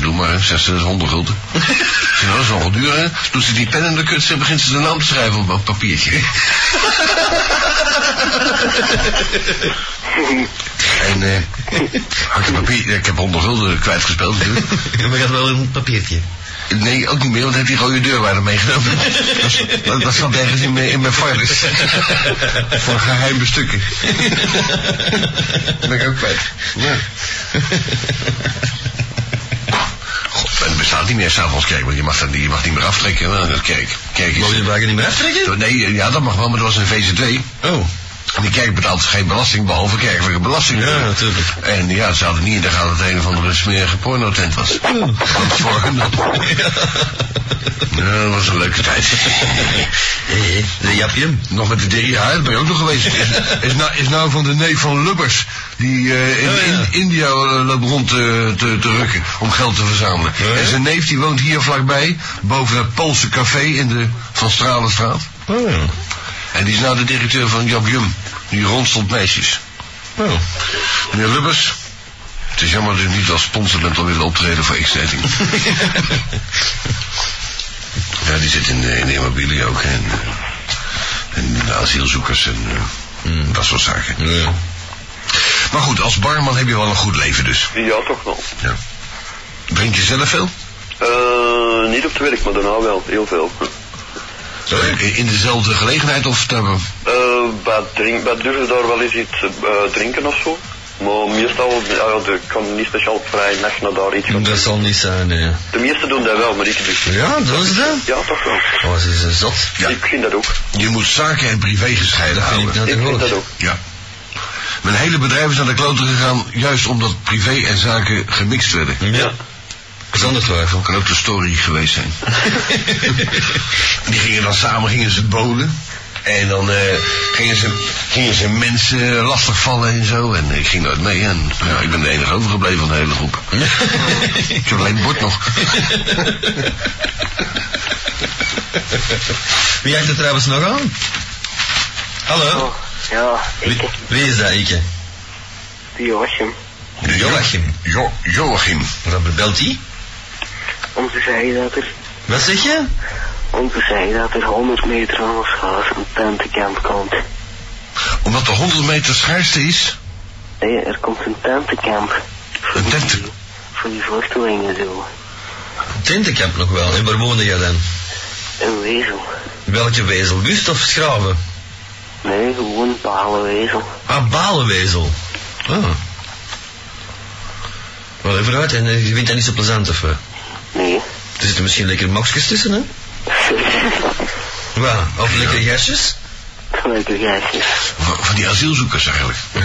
doe maar, hè. zegt ze, dat is 100 gulden. Ik zeg, nou, dat is nogal duur, hè? Doet ze die pen in de kut en begint ze de naam te schrijven op een papiertje. En eh, had ik, een papier, ik heb 100 gulden kwijtgespeeld natuurlijk.
We gaan wel een papiertje.
Nee, ook niet meer, want hij heeft die rode deurwaarder meegenomen. Dat is- dat, dat zat ergens in mijn, in mijn files. Voor geheime stukken. Dat ben ik ook kwijt. Ja. God, en het bestaat niet meer s'avonds kerk, want je mag, dat niet, je mag niet meer aftrekken hè, aan de kerk. kerk is,
Mogen we de wagen niet meer aftrekken?
nee, ja dat mag wel, maar dat was een VZW.
Oh.
En de kerk betaalt geen belasting, behalve kerkelijke belasting. Ja, natuurlijk. En ja, ze hadden niet in de gaten dat het een of andere smerige pornotent was. Wat voor een... Ja, dat was een leuke tijd. De Japje? Nog met de D. Ja, dat ben je ook nog geweest. Is, is, nou, is nou van de neef van Lubbers. Die eh, in, in- India eh, loopt rond eh, te, te rukken om geld te verzamelen. En zijn neef die woont hier vlakbij, boven het Poolse café in de Van Stralenstraat. En die is nou de directeur van Jap Jum. Die rondstelt meisjes.
Oh.
Meneer Lubbers, het is jammer dat u niet als sponsorland al willen optreden voor X-Dating. ja, die zit in de, in de immobilie ook. En, eh, en de asielzoekers en eh,
Hmm.
dat soort zaken. Maar goed, als barman heb je wel een goed leven dus.
Ja, toch nog.
Ja. Drink je zelf veel?
Eh, niet op het werk, maar daarna wel. Heel veel.
In- In dezelfde gelegenheid of... daar-
Eh bij, drink, bij durven daar wel eens iets eh, drinken of zo. Maar meestal, ja, ja, ik kan niet speciaal vrij nacht naar daar iets gaan
Dat zal niet zijn, eh. nee.
De meesten doen dat wel, maar ik dus niet.
Ja, dat is dat.
Ja, toch wel.
Oh, ze is een zot.
Ik vind dat ook.
Je moet zaken en privé gescheiden houden.
ik nou te
Ik vind dat ook.
Ja. Mijn hele bedrijf is naar de kloten gegaan, juist omdat privé en zaken gemixt werden.
Ja. Zonder twijfel.
Kan ook de story geweest zijn. Die gingen dan samen, gingen ze bolen. En dan eh, gingen, ze, gingen ze mensen lastigvallen en zo. En ik ging nooit mee. En ja, ik ben de enige overgebleven van de hele groep. ik heb alleen het bord nog.
Wie heeft er trouwens nog aan? Hallo?
Ja,
Wie, wie is dat, Ike?
die Joachim.
Joachim.
Jo Joachim.
Wat belt hij?
Onze zei dat er,
Wat zeg je?
onze zei dat er 100 meter van ons huis een tentenkant komt.
Omdat de 100 meter schaarste is.
Nee, er komt een tentenkant
Een tent.
voor die vluchtelingen zo.
Tintenkamp nog wel. En waar woonde jij dan?
Een wezel.
Welke wezel? Gustaf Schraven?
Nee, gewoon een palenwezel.
Ah, Balenwezel. Ah. Wel even uit. En eh, je vindt dat niet zo plezant, of wat?
Nee.
Er zitten misschien lekker mokjes tussen, hè? Wel, of lekkere gastjes?
Leuke geitjes.
Van van die asielzoekers eigenlijk.
Ja.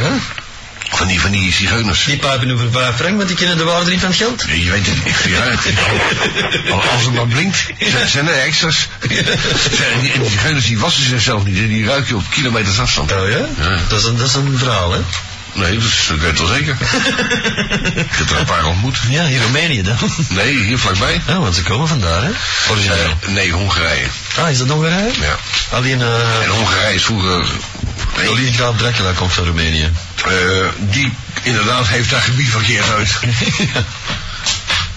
Van die, van die zigeuners.
Die pijpen over vijf frank, want die kennen de waarde niet van het geld.
Je weet het niet. Ja, het- al- als het maar blinkt, zijn- zijn er extra's. Zijn- En die, en die zigeuners die wassen zichzelf niet, die ruik je op kilometers afstand.
Oh ja?
Ja.
Dat, is een, dat is een verhaal, hè?
Nee, dat, is, dat weet ik wel zeker. Ik heb er een paar ontmoet.
Ja, in Roemenië dan.
Nee, hier vlakbij.
Ja, want ze komen vandaar, hè? Origineel.
Eh, nee, Hongarije.
Ah, is dat Hongarije?
Ja.
Alleen,
En
eh...
Hongarije is vroeger... nee,
Alleen Graaf Dracula komt van Roemenië.
eh, die inderdaad heeft daar gebied verkeerd uit.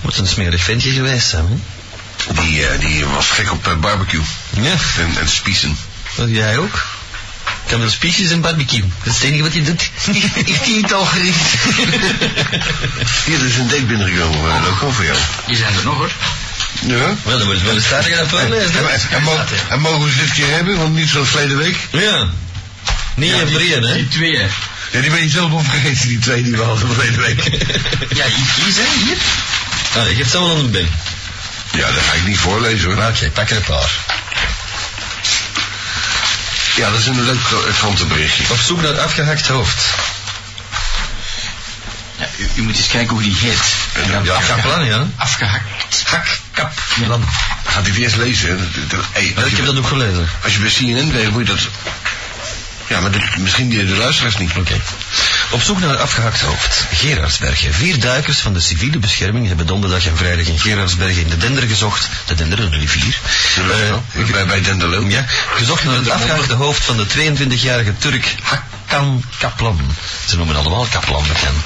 Moet een smerig ventje geweest zijn, hè?
Die, eh, die was gek op eh, barbecue
Ja.
en, en spiezen.
Jij ook? Kan wel spiesjes en barbecue. Dat is het enige wat hij doet.
Ik die het al gericht. Hier is een date binnengekomen, uh, dat kan voor jou.
Hier zijn er nog hoor.
Ja.
Wel, dan moet je wel eens staat gaan voorlezen.
En, en, en mogen, en mogen we ze dit keer hebben, want niet zoals verleden week.
Ja. Niet in Brien, hè?
Die twee. hè.
Ja, die ben je zelf opgegeten, die twee die we hadden verleden week.
Ja, hier, hier zijn hier.
Ah, ik heb het allemaal aan de ben.
Ja, dat ga ik niet voorlezen hoor.
Oké, pak er een paar.
Ja, dat is een leuk eh, krantenberichtje.
Op zoek naar afgehakt hoofd.
Ja, u, u moet eens kijken hoe die heet.
Ja,
Ja, kaplan, ja.
Afgehakt.
Hak, kap, plan.
Gaat hij eerst lezen. hè? Dat- dat- hey,
Ja,
als,
ik heb
je,
dat ook gelezen.
als je bij CNN werkt, moet je dat... Ja, maar dat- misschien de, de luisteraars niet.
Oké. Op zoek naar afgehakt hoofd. Gerardsbergen. Vier duikers van de civiele bescherming hebben donderdag en vrijdag in Gerardsbergen in de Dender gezocht. De Dender, een rivier. Eh,
bij, bij Dendelo.
ja, gezocht naar het afgehakte hoofd van de 22-jarige Turk Hakan Kaplan. Ze noemen allemaal Kaplan bekend.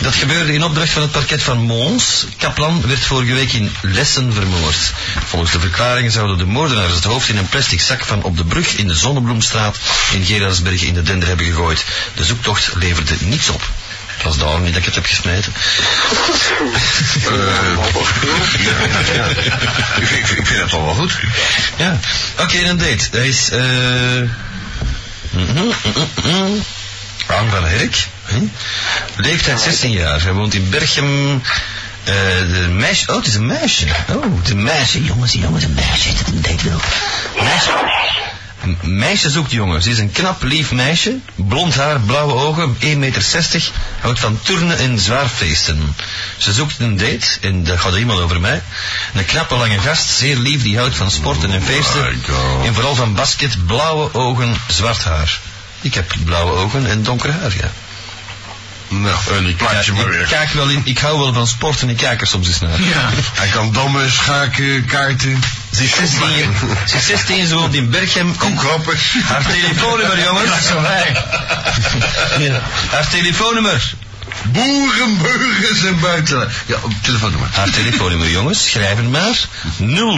Dat gebeurde in opdracht van het parket van Mons. Kaplan werd vorige week in Lessen vermoord. Volgens de verklaring zouden de moordenaars het hoofd in een plastic zak van op de brug in de Zonnebloemstraat in Gerardsberg in de Dender hebben gegooid. De zoektocht leverde niets op. Het was daarom niet dat ik het heb gesneden.
Eh, ik, vind- ik vind- ik vind dat toch wel goed.
Ja, oké, dan date. Hij is... eh Mhm, Aan van Herk. Hm? Hè? Leeftijd 16 jaar. Hij woont in Berchem. Eh, de meisje, oh, het is een meisje. Oh, het is een meisje. Jongens, jongens, een meisje. Dat een date wil. Meisje. M- Meisje zoekt jongen. Ze is een knap, lief meisje. Blond haar, blauwe ogen, 1,60 meter. Houdt van turnen en zwaarfeesten. Ze zoekt een date, en dat gaat iemand over mij. Een knappe, lange gast, zeer lief, die houdt van sporten en feesten. En vooral van basket, blauwe ogen, zwart haar. Ik heb blauwe ogen en donker haar, ja.
Nou, en ik plaats je maar weer.
Ik kijk wel in, ik hou wel van sport en ik kijk er soms eens naar.
Ja. Hij kan dammen, schaken, kaarten.
Ze is 16, ze is 16 ze woont in Berchem. Kom
klappen.
Haar telefoonnummer, jongens.
Dat is zo
wij. Ja. Haar telefoonnummer.
Boeren, burgers en buiten. Ja, op telefoonnummer.
Haar telefoonnummer, jongens. Schrijf het maar.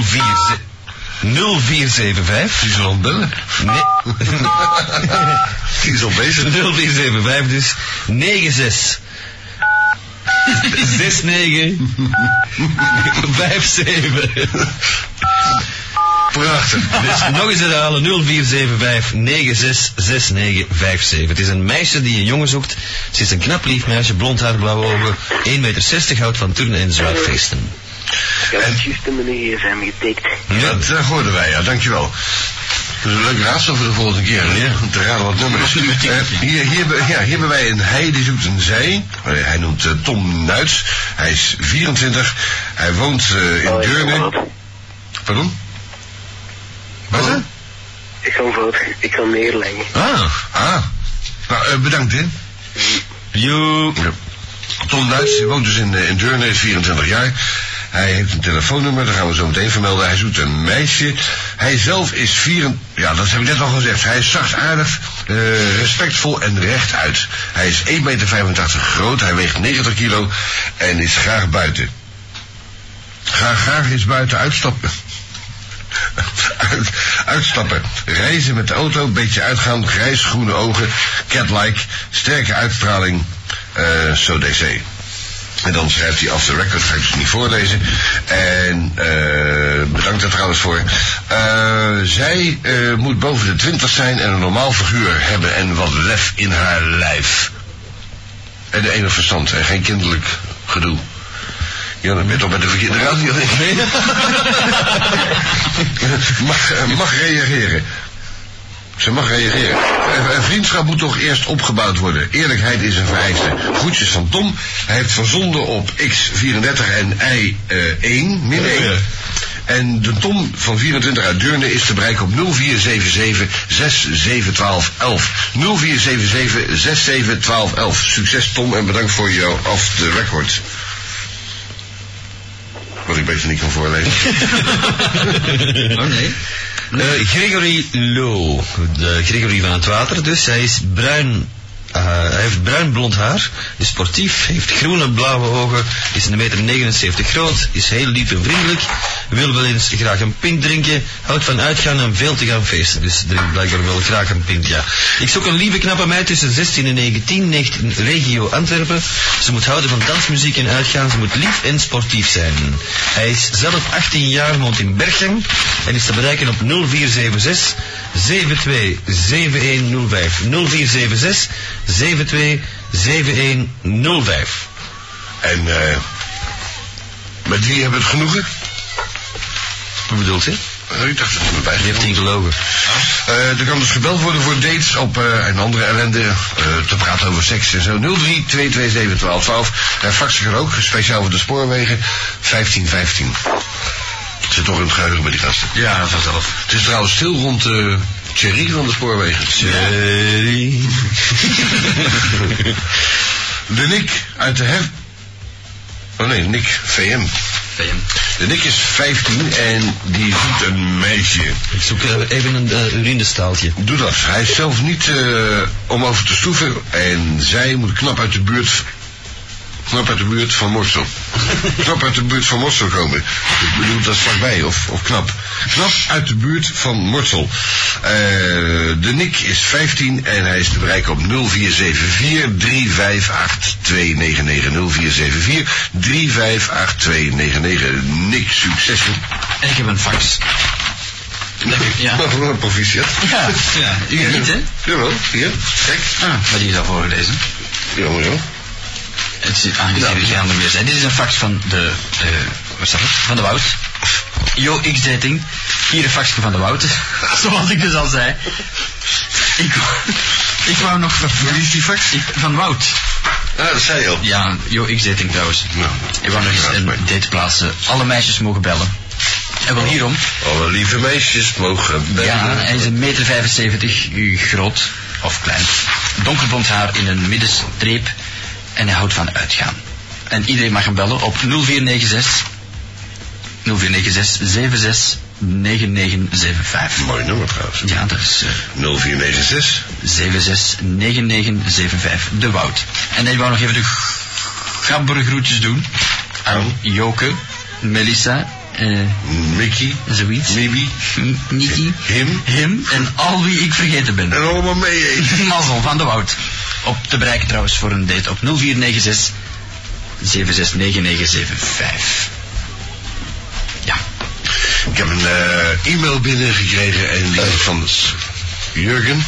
04... 0475.
Die zal bellen.
Nee.
Die is al bezig.
0475 dus. 96. 69. 57.
Prachtig.
Dus nog eens herhalen, 0475966957. Het is een meisje die een jongen zoekt. Ze is een knap lief meisje, blond haar, blauwe ogen, 1,60 meter, houdt van turnen en zwaardfeesten.
Ik heb het juist in mijn gsm getikt.
Ja.
Dat eh, hoorden wij, ja, dankjewel. Dat is een leuk raadsel voor de volgende keer, hè? om te raden wat het nummer is. Eh, hier, hier, hebben- ja, hier hebben wij een hij, die zoekt een zij. Eh, hij noemt eh, Tom Nuits. Hij is 24. Hij woont eh, in
Oh, ik kan
Deurne.
fout.
Pardon? Wat is dat?
Ik kan fout. Ik kan neerleggen.
Ah. Ah. Nou, eh, bedankt, hè.
You.
Ja. Tom Duits, die woont dus in, eh, in Deurne, is 24 jaar. Hij heeft een telefoonnummer, dat gaan we zo meteen vermelden. Hij zoekt een meisje. Hij zelf is 24... Ja, dat heb ik net al gezegd. Hij is zachtaardig, eh respectvol en rechtuit. Hij is 1,85 meter groot, hij weegt 90 kilo en is graag buiten. Ga graag eens buiten uitstappen. Uit- uitstappen. Reizen met de auto, een beetje uitgaan, grijs-groene ogen, cat-like, sterke uitstraling, eh zo DC. En dan schrijft hij af de record, ga ik dus niet voorlezen. En eh, bedankt daar trouwens voor. Eh, zij eh, moet boven de 20 zijn en een normaal figuur hebben en wat lef in haar lijf. En de enig verstand en geen kinderlijk gedoe. Ja, dan ben je toch bij de verkeerde radio. denk ik. mag, eh, mag reageren. Ze mag reageren. Eh, Een vriendschap moet toch eerst opgebouwd worden. Eerlijkheid is een vereiste. Groetjes van Tom. Hij heeft verzonden op X34 en Y1, min 1. En de Tom van 24 uit Deurne is te bereiken op 0477 671211. 0477 671211. Succes Tom en bedankt voor jouw off the record. Wat ik beter niet kan voorlezen.
Oh nee. Eh, Gregory Low. De Gregory van het water dus. Hij is bruin. eh, hij heeft bruin blond haar, is sportief, heeft groene en blauwe ogen, is 1,79 meter groot, is heel lief en vriendelijk, wil wel eens graag een pint drinken, houdt van uitgaan en veel te gaan feesten. Dus drinkt blijkbaar wel graag een pint, ja. Ik zoek een lieve knappe meid tussen 16 en 19, 19 regio Antwerpen. Ze moet houden van dansmuziek en uitgaan, ze moet lief en sportief zijn. Hij is zelf 18 jaar, woont in Berchem en is te bereiken op 0476 727105. 0476 727105.
En eh, met wie hebben we het genoegen?
Wat bedoelt u?
Eh, Ik dacht dat het erbij
Je hebt niet gelogen.
Eh, er kan dus gebeld worden voor dates op eh, en andere ellende. eh, te praten over seks en zo. 03 227 1212. En faxen Eh, kan ook, speciaal voor de spoorwegen. 1515. Het zit toch in het geheugen bij die gasten. Ja, vanzelf. Het is trouwens stil rond eh Thierry van de spoorwegen.
Jerry.
De Nick uit de hef... Oh nee, Nick VM. De Nick is 15 en die zoekt een meisje.
Ik zoek eh, even een eh, urinestaaltje.
Doe dat. Hij is zelf niet eh, om over te stoeven. En zij moet knap uit de buurt. Knap uit de buurt van Morsel. knap uit de buurt van Morsel komen. Ik bedoel, dat is vlakbij, of, of knap. Knap uit de buurt van Morsel. Eh, de Nick is 15 en hij is te bereiken op 0474-358-299. 0474-358-299. Nick, succes.
En ik heb een fax. Ja.
Proficiat.
Ja, ja. U
Hier.
niet, hè?
Jawel, hier. Kijk.
Ah, wat is al voorgelezen?
Jammer, joh.
Het zit aangegeven, geen ander meer zijn. Dit is een fax van de, eh, wat staat het? Van de Wout.
Yo, X-dating. Hier een faxje van de Wouter. Zoals ik dus al zei. Ik, wou- ik wou nog... Wie is die fax? van Wout.
Ah, dat zei je al.
Ja, yo, X-dating trouwens. Ik wou nog eens een date plaatsen. Alle meisjes mogen bellen. En
Oh.
wel hierom.
Alle lieve meisjes mogen bellen.
Ja, hij is een meter 75 groot of klein. Donkerblond haar in een middenstreep. En hij houdt van uitgaan. En iedereen mag hem bellen op 0496 0496 76 9975.
Mooi nummer trouwens.
Ja, dat is... eh,
0496.
769975. De Wout. En ik wou nog even de g- gabbere groetjes doen
Oh.
aan Joke, Melissa, eh
Mickey.
Zoiets.
Mibi.
Niki.
Him.
Hem en al wie ik vergeten ben.
En allemaal mee eten.
Mazzel van de Wout. Op te bereiken trouwens voor een date op 0496 769975. Ja.
Ik heb een eh, e-mail binnengekregen en die is van S- Jurgen.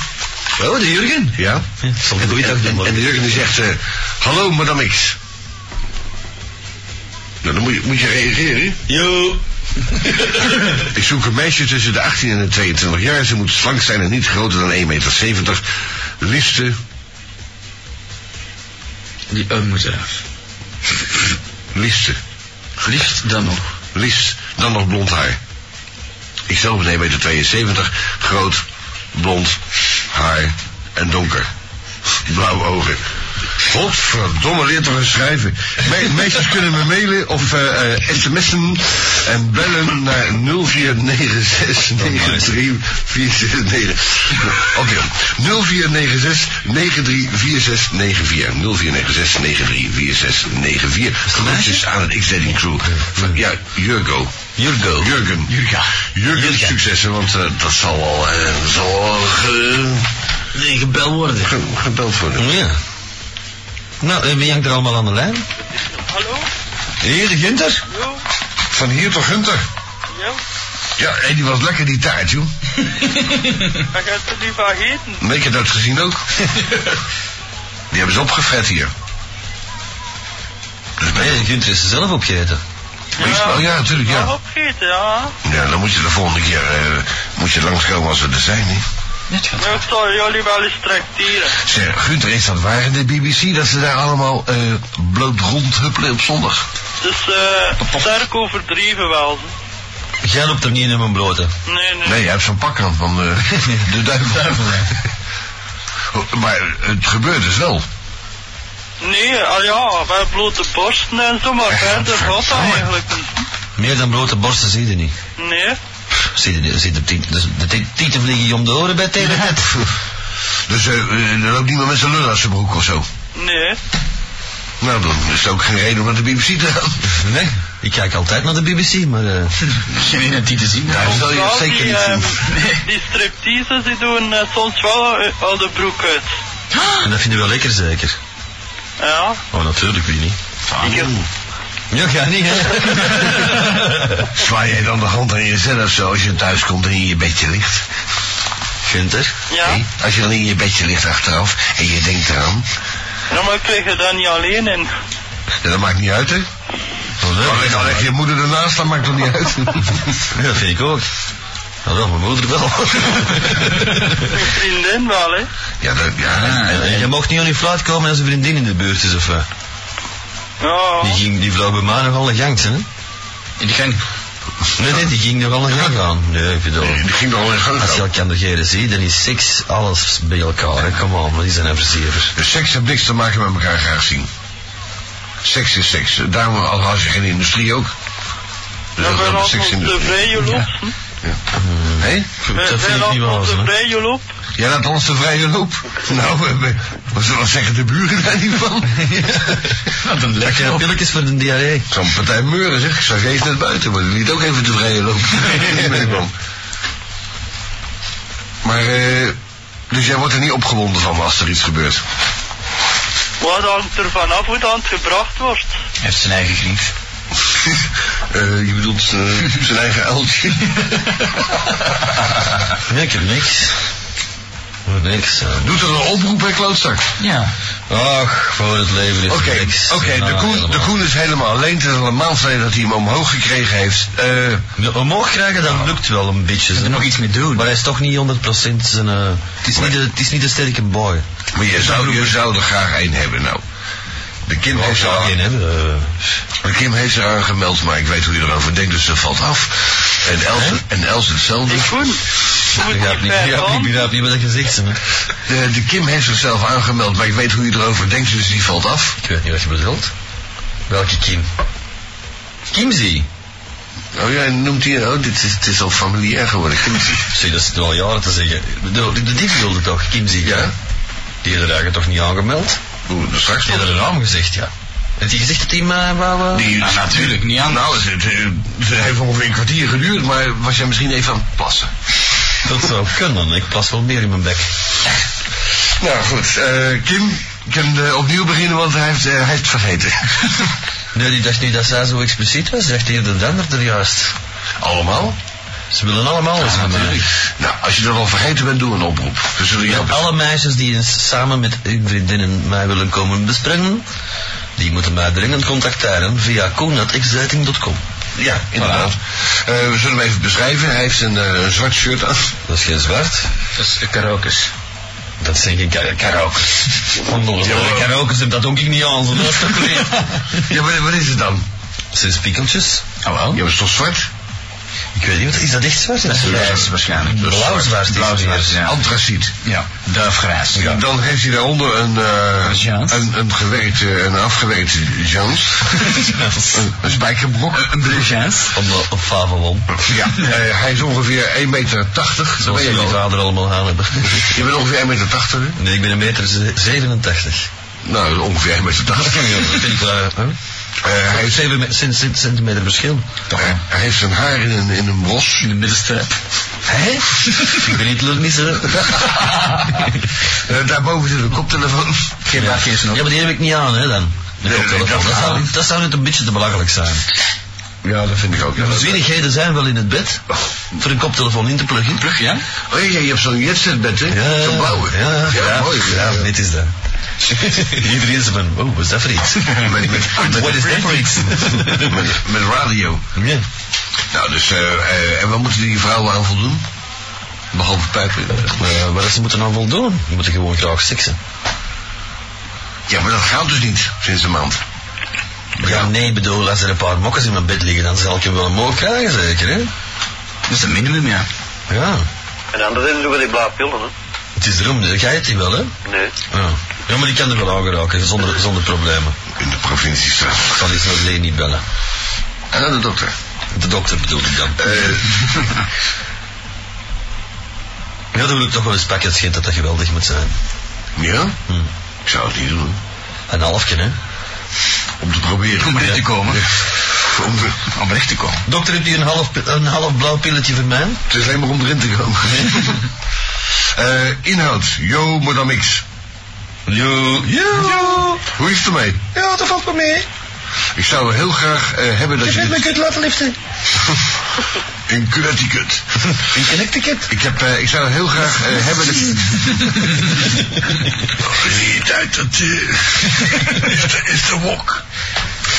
Eh, Oh, de Jurgen.
Ja.
Zal ik
En,
ooit ook doen,
en,
maar-
en de Jurgen die zegt, eh, hallo madame X. Nou, dan moet je, moet je reageren.
Yo.
Ik zoek een meisje tussen de 18 en de 22 jaar. Ze moet slank zijn en niet groter dan 1,70 meter. Liefste.
Die um moet eraf.
Liefste.
Liefst dan nog.
Liefst dan nog blond haar. Ikzelf ben 1,72 meter, 72, groot, blond, haar en donker. Blauwe ogen. Godverdomme, leer toch eens schrijven. Me meisjes kunnen me mailen of eh, eh, sms'en en bellen naar 0496934694. Opnieuw. 0496934694. 0496934694. Groetjes aan het X-Dating Crew. Van, ja, Jurgo. Jurgo. Jurgen. Jurga. Jurgen, succes, hè, want eh, dat zal wel... eh, dat zal wel ge-
Nee, gebeld worden.
ge- gebeld worden.
Ja. Nou, en wie hangt er allemaal aan de lijn?
Hallo?
Hier, de Ginter.
Jo?
Van hier tot Gunter.
Ja?
Ja, en die was lekker die taart, joh.
Ik heb het niet vergeten.
Nee, ik heb dat gezien ook. die hebben ze opgefret hier. Dus ben
Nee,
je...
Gunther is er zelf opgegeten.
Ja, ja natuurlijk, ja.
Ja, opgeten, ja.
Ja, dan moet je de volgende keer eh, moet je langskomen als we er zijn. Hè?
Ja, Ik zal jullie wel eens tracteren.
Zeg, Gunther, is dat waar in de BBC dat ze daar allemaal eh bloot rondhuppelen op zondag?
Dus eh, sterk overdreven wel. hè.
Jij loopt er niet in mijn blote.
Nee, nee.
Nee, hij heeft zo'n pak aan van eh, de duivel. Oh, maar het gebeurt dus wel.
Nee, ah ja, bij blote borsten en zo, maar verder gaat dat eigenlijk niet.
Meer dan blote borsten zie je niet.
Nee.
Zie je, zie je de, tiet- dus de tiet- tieten vliegen je om de oren bij Telenet.
Dus eh, eh, er loopt niemand met zijn lul uit zijn broek of zo.
Nee.
Nou, dan is er ook geen reden om naar de BBC te gaan.
Nee, ik kijk altijd naar de BBC, maar... eh,
Geen ene die te zien.
Ja, dat zal je
Vooral
zeker
die,
niet
ehm,
doen.
die stripteases die doen eh, soms wel eh, al de broek uit.
En dat vind je wel lekker zeker?
Ja.
Oh, natuurlijk, wie niet?
Ah,
Ik heb-
Ja, ga niet, hè?
Zwaai jij dan de hand aan jezelf zo als je thuis komt en in je bedje ligt?
Gunther?
ja.
Hé, Als je dan in je bedje ligt achteraf en je denkt eraan,
ja, Nou, maar ik lig er dan niet alleen in.
ja, dat maakt niet uit, hè? Maar Oh, leg- al leg je moeder ernaast, dat maakt toch niet uit?
Ja, dat vind ik ook. Nou, wel, mijn moeder wel.
Mijn vriendin wel, hè.
ja, dat, ja,
En, en je mocht niet aan je fluit komen als een vriendin in de buurt is, of wat?
Oh.
Ja.
Die, ging, die vrouw bij mij nogal een gang, hè?
In de gang.
Nee, nee, die ging nogal een gang aan. Nee, ik bedoel...
die ging al in gang.
Als je
zo.
elkaar negeren ziet, dan is seks alles bij elkaar, hè? Kom op, maar die zijn een versiever.
Dus seks heeft niks te maken met elkaar graag zien. Seks is seks. Daarom al had je geen industrie ook. Dus
Dan
dat
ben
is
ik
de
op Nou, de
seksindustrie.
vrije loop. hè.
Hé?
Wij-
Dat
Wij
vind ik niet
laten
wel
op
eens,
de
hè?
vrije loop.
Jij laat ons de vrije loop. Nou, eh, we- wat zullen we zeggen de buren daar niet van?
Wat een
Kijk,
lekker.
pilletjes voor de diarree.
Zo'n partij meuren zeg, ik zag eens net buiten, maar die liet ook even de vrije loop. Die ben ik wel. maar, eh, dus jij wordt er niet opgewonden van als er iets gebeurt.
Wat hangt er vanaf hoe dat gebracht wordt?
Hij heeft zijn eigen grief.
Eh, je bedoelt eh, zijn eigen uiltje.
Nee, ik heb niks. Niks aan.
Doet er een oproep, hè, klootzak?
Ja.
Ach, voor het leven is
Oké,
niks. Nou,
oké, de,
aan
koen, de
helemaal.
Koen is helemaal alleen. Het is al een maand geleden dat hij hem omhoog gekregen heeft. Eh,
De- nou, Omhoog krijgen, dat lukt wel een beetje. Er nog iets mee doen. Maar hij is toch niet 100% zijn... eh, het, is Oh, niet de, het is niet de sterke boy.
maar je zou, je zou er graag één hebben, nou. De Kim heeft er aan,
eh,
de Kim heeft er aan gemeld, maar ik weet hoe hij erover denkt, dus dat valt af. En Els, en Els hetzelfde. Ik
Koen.
Ik begrijp niet, ik begrijp niet wat ik gezegd heb. De, de Kim heeft zichzelf aangemeld, maar ik weet hoe hij erover denkt, dus die valt af.
Ik weet niet wat je bedoelt. Welke Kim? Kimsey.
Oh ja, en noemt hij, oh, dit is, het is al familiair geworden, Kimsey.
Zie, dat is al jaren te zeggen. De, de, de dief wilde toch, Kimsey? Ja. Die had er eigenlijk toch niet aangemeld?
Oeh, dat straks
Die had er een naam gezegd, ja. Heeft hij gezegd dat hij maar wou... eh,
Die, natuurlijk, niet anders. Nou, het, het, het heeft ongeveer een kwartier geduurd, maar was jij misschien even aan het plassen?
Dat zou kunnen, ik plas wel meer in mijn bek.
Nou goed, eh, Kim, je kunt eh, opnieuw beginnen, want hij heeft, eh, hij heeft het vergeten.
Nee, die dacht niet dat zij zo expliciet was. Zegt eerder de ander er juist.
Allemaal?
Ze willen allemaal eens aan mij.
Nou, als je dat al vergeten bent, doe een oproep. We zullen jou best-
Alle meisjes die eens samen met hun vriendinnen mij willen komen bespringen, die moeten mij dringend contacteren via koen.xdating.com.
Ja, inderdaad. Eh, we zullen hem even beschrijven. Hij heeft een, eh, een zwart shirt aan.
Dat is geen zwart.
Dat is een karaokes.
Dat is denk ik kar karaokes. Onnodig. Karaokes heb dat ook ik niet aan, zo dat is toch leer.
Ja, maar wat is het dan?
Zijn spiekeltjes?
Ah wel?
Ja, maar is toch zwart?
Ik weet niet, wat is dat echt zwart?
Dat is grijs waarschijnlijk.
Blauw zwart is
Blauw
het
zwart,
eerst.
ja.
Antraciet.
Ja, duifgrijs.
Ja. Dan heeft hij daaronder een, eh,
Jans.
een, een gewerkte, een afgewerkte jans. een, een spijkerbrok. Een
Jans.
Om de, op Favelon.
Ja, eh, hij is ongeveer 1,80 meter. Dan
Zoals
ben je,
jullie
wel.
vader allemaal aan hebben.
je bent ongeveer 1,80 meter. hè?
Nee, ik ben een meter ze- 87.
Nou, ongeveer 1,80 meter.
Dat vind ik wel... hè?
Eh, hij, heeft,
7 me- cent- cent- centimeter verschil.
eh, hij heeft zijn haar in een, in een bos.
In de middenstreep.
Hé? ik ben niet lulmissen.
Eh, daarboven zit een koptelefoon.
Geen baard, geen snor.
Ja, maar die heb ik niet aan, hè, dan. De
Nee, nee,
koptelefoon.
dat
dat,
verhaal
zou, dat zou net een beetje te belachelijk zijn.
Ja, dat vind ik ook. Ja,
De
dat-
zwierigheden zijn wel in het bed. Voor een koptelefoon in te pluggen.
Plug, ja?
Oh ja, je hebt zo'n jetsetbed, hè? zo'n blauwe.
Ja, ja,
mooi.
Ja, dit is dat. Iedereen is van, oh, wat is dat voor iets?
Met, met, met,
What is that for iets?
met- met radio.
Ja.
Nou, dus, eh, eh, en wat moeten die vrouwen aan voldoen? Behalve pijpen.
Maar wat ze moeten nou voldoen? Ze moeten gewoon graag seksen.
Ja, maar dat gaat dus niet sinds een maand.
Ja, nee, bedoel, als er een paar mokkers in mijn bed liggen, dan zal ik hem wel een mooi krijgen, zeker, hè?
Dat is het minimum, ja.
Ja.
En anders is het ook wel die blauwe pillen, hè?
Het is erom, jij hebt die wel, hè?
Nee.
Ja. Ja, maar die kan er wel aan geraken, zonder, zonder problemen.
In de provincie staat.
Ik zal die snel niet bellen.
En aan de dokter.
De dokter bedoel ik dan.
Eh,
Ja, dat wil ik toch wel eens pakken. Het schijnt dat dat geweldig moet zijn.
ja?
Hm.
Ik zou het niet doen.
Een halfje, hè?
Om te proberen.
Om recht te komen.
Om te-
Om recht te komen.
Dokter, hebt u een half, pi- een half blauw pilletje voor mij?
het is alleen maar om erin te komen. Eh, inhoud. Yo, madame X.
Jo, jo.
Hoe is het ermee?
Ja, dat valt me mee.
Ik zou heel graag eh, hebben dat je... dit-
kunt laten liften.
In Connecticut.
In Connecticut.
Ik, heb, eh, ik zou heel graag eh, hebben dat je... Die tijd, dat eh, is, de, is de wok.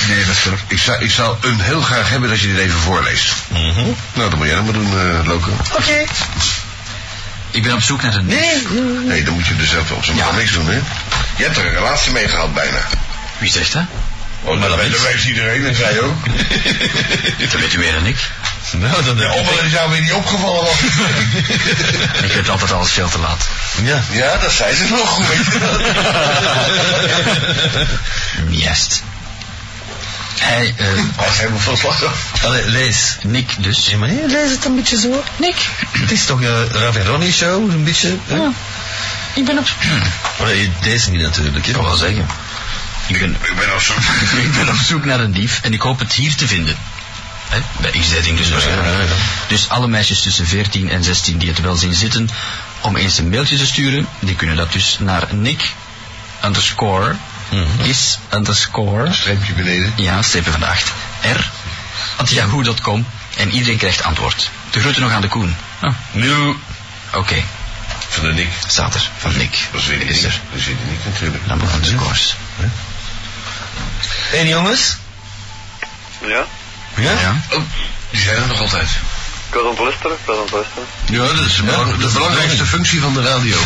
Nee, dat is er. Ik zou, ik zou een heel graag hebben dat je dit even voorleest. Nou, dan moet jij dat maar doen, eh Loco.
Mhm. Oké.
Ik ben op zoek naar een...
Nee.
Nee, dan moet je er zelf op. Ze mag niks doen, hè? Je hebt er een relatie mee gehad, bijna.
Wie zegt dat?
Oh, dat, weet, dat weet iedereen, en zij ook.
Dat weet u meer dan ik.
Nou, dan
Ja,
heb
of
ik...
dat is jou weer niet opgevallen was.
Ik weet altijd alles veel te laat.
Ja.
ja, dat zei ze nog
Juist. Hij, eh...
Als hij me van slag af.
Allee, lees.
Nick dus.
Ja, maar nee, lees het een beetje zo. Nick. Het is toch een Rav en Ronnie show, een beetje. Ja.
Ik ben op...
Allee, deze niet natuurlijk, hè?
Ik kan wel zeggen. Ik ben,
Ik ben al zo.
ik ben op zoek naar een dief en ik hoop het hier te vinden. Hè? Bij X-dating dus waarschijnlijk.
ja, ja.
Dus alle meisjes tussen 14 en 16 die het wel zien zitten, om eens een mailtje te sturen, die kunnen dat dus naar nick underscore is underscore
Mhm. Streepje beneden.
ja, strepen van de acht. R. At yahoo.com. En iedereen krijgt antwoord. De groeten nog aan de Koen. Nu. Oké.
Ah. Van de Nick.
Staat er, van Nick.
Dat is weer de
Is
Nick.
er.
Dat is weer de Nick natuurlijk.
Dan begon de koers.
En jongens?
Ja?
Ja?
Oh, die zijn er nog altijd.
Ik was aan het luisteren, ik was aan het luisteren.
Ja, dat is belang- de belangrijkste functie van de radio.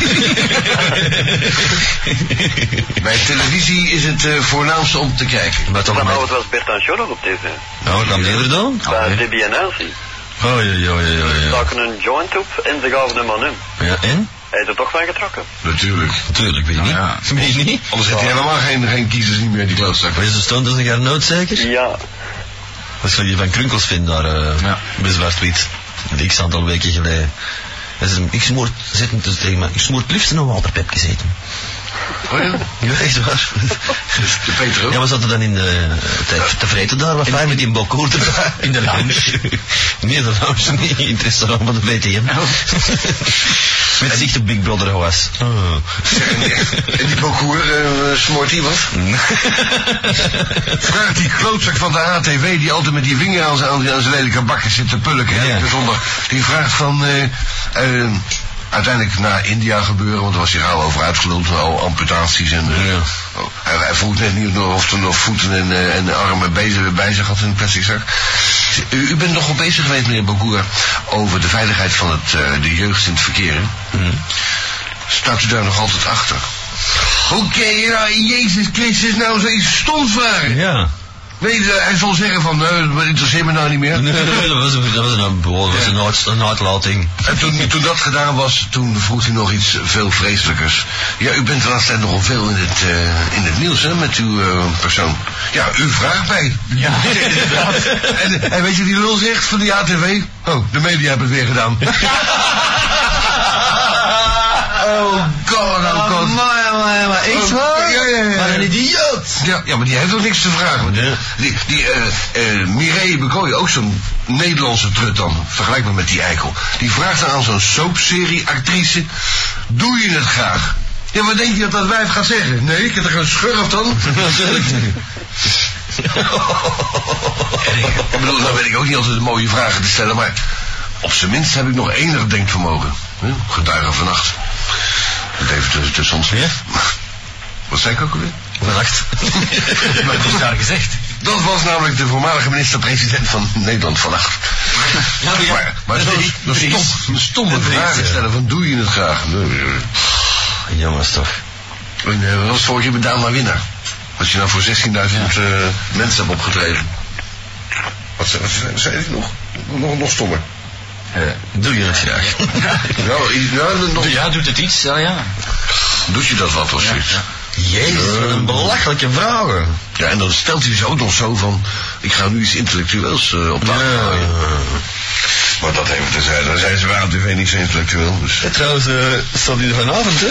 Bij televisie is het eh, voornaamste om te kijken.
Maar toch
Vanavond was Bert en Jordan op tv.
Ah,
Nou, dan eerder dan?
Bij Debbie en Elsie.
Oh, ja, ja, ja,
Ze
ja.
staken een joint op en ze gaven hem aan hem.
Ja, en?
Hij is er toch van getrokken.
Natuurlijk.
Tuurlijk, weet je niet.
Ja.
Weet je niet?
Nou Anders heeft hij helemaal geen, geen kiezers niet meer, die klootzak.
Wees de stond als een garnoot zeker?
Ja.
Dat is wat je van Krunkels vindt daar eh
Ja.
bij Zwart-Wit. Een x aantal weken geleden. Hij zei, ik smoor, zit hem dus tegen mij, ik smoor het liefst in een waterpepje zitten.
Oh ja?
Ja, echt waar.
De Peter ook.
Ja, we zaten dan in de, eh, te, te vreten daar, wat fijn met die balkoen erbij. In de lounge. nee, de lounge niet, in het restaurant van de VTM.
Oh.
met zicht op Big Brother was.
En die Bokoer, eh smoort die wat? Vraagt die klootzak van de ATW, die altijd met die vinger aan zijn, aan zijn lelijke bakken zit te pulken,
Ja.
ja. zondag. Die vraagt van, eh, eh, uiteindelijk naar India gebeuren, want er was hier gauw over uitgeluld, al amputaties en... eh, oh, hij, hij vroeg net niet of er nog voeten en, eh, en armen bezig, bij zich had in een plastic zak. U, u bent nogal bezig geweest, meneer Bokoer, over de veiligheid van het, eh, de jeugd in het verkeer. hè?
Mhm.
Staat u daar nog altijd achter? Hoe kan je nou in Jezus Christus nou zoiets stoms vragen?
Ja.
Weet je, hij zal zeggen van, nee, dat interesseert me nou niet meer.
Nee, dat was, een- dat was een, dat was een, uit- een uitlating.
En toen, toen dat gedaan was, toen vroeg hij nog iets veel vreselijkers. Ja, u bent de laatste tijd nogal veel in het, eh, in het nieuws, hè, met uw eh, persoon. Ja, u vraagt mij. Ja, inderdaad. En, en weet je wat die lul zegt van die ATV? Oh, de media hebben het weer gedaan. oh god, oh god. Oh,
maar, maar,
echt waar?
Ja, ja, ja.
Wat een
idioot!
Ja, ja, maar die heeft ook niks te vragen. Want
Nee.
Die, die eh, eh, Mireille Bekooi, ook zo'n Nederlandse trut dan, vergelijkbaar met die eikel. Die vraagt dan aan zo'n soapserie actrice, doe je het graag? Ja, wat denk je dat dat wijf gaat zeggen? Nee, ik heb er een schurf dan. ik bedoel, nou weet ik ook niet altijd de mooie vragen te stellen, maar op zijn minst heb ik nog enig denkvermogen. Hè? Getuigen vannacht. Dat even tussen- tussen ons. Wat zei ik ook alweer?
Vannacht.
Wat is daar gezegd? Dat was namelijk de voormalige minister-president van Nederland vannacht.
maar ja.
Maar, maar
Dat
zo'n
is-
een stom, een stomme
Dat is-
vraag stellen van doe je het graag? Nee, nee, nee.
Jongens toch.
En, eh, wat was vorig jaar met Daan naar winnaar? Als je nou voor 16.000 eh, mensen hebt opgetreden. Wat, ze- wat ze- zei ik nog? Nog, nog stommer.
Doe je het graag?
Nou, i- nou, nog,
Ja, doet het iets? Ja, ja.
doet je dat wat of zoiets? Ja,
Jezus, wat een belachelijke vragen.
en dan stelt hij ze ook nog zo van... Ik ga nu iets intellectueels eh, op tafel
Ja.
gooien. Maar dat even terzijde. Dan zijn ze wel natuurlijk niet zo intellectueel. Dus.
Trouwens, eh, staat hier vanavond, hè?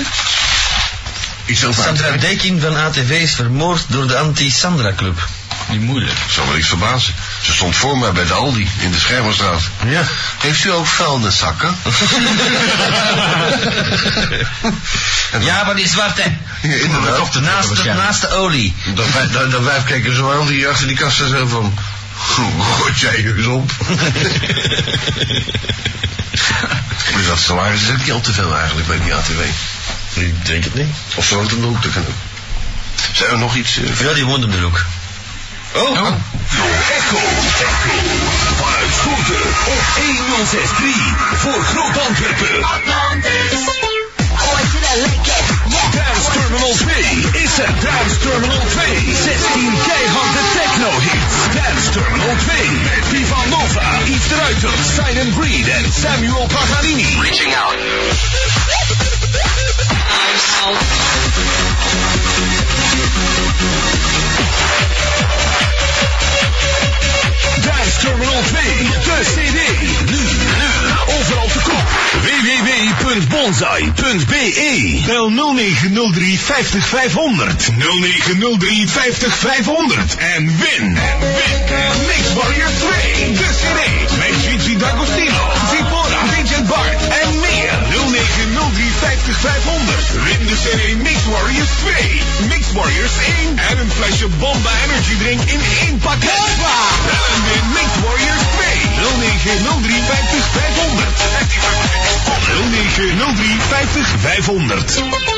Iets heel
Sandra Deking van ATV is vermoord door de Anti-Sandra-club.
Die moeder.
Zal me niks verbazen. Ze stond voor mij bij de Aldi in de Schermerstraat.
Ja.
Heeft u ook vuilniszakken?
Ja, maar die zwarte.
Ja, inderdaad.
Of de naast, de, naast de olie.
Dat wij, dat, dat wijf kijken zo aan die achter die kassa zo van... "Goh, Gooi jij je eens op. dus dat salaris is ook niet al te veel eigenlijk bij die ATW.
Ik denk het niet.
Of zo dan ook, dat kan ook. Zijn er nog iets... eh,
Ja, die woont hem er ook.
oh.
Echo, Echo. Vanuit Groeten op 1063 voor Groot Antwerpen. Dance Terminal 2 is het Dance Terminal 2. 16 keiharde techno hits. Dance Terminal 2 met Viva Nova, Yves de Ruiter, Simon Breed en Samuel Paganini. Reaching out. Dance Terminal 2, de CD. Nu, nu, overal te koop. www.bonsai.be Bel 0903 50 500. 0903 50 500. En win. En win. Mix Warrior 2, de CD. Met Gigi D'Agostino, Zipora, Vincent Bart en meer. 0903 50 500. Win de CD Mix Warriors 2, Mix Warriors 1 en een flesje Bomba Energy Drink in één pakket. Bel en win Mix Warriors 2. 0903 50 500. 0903
0903 50 500.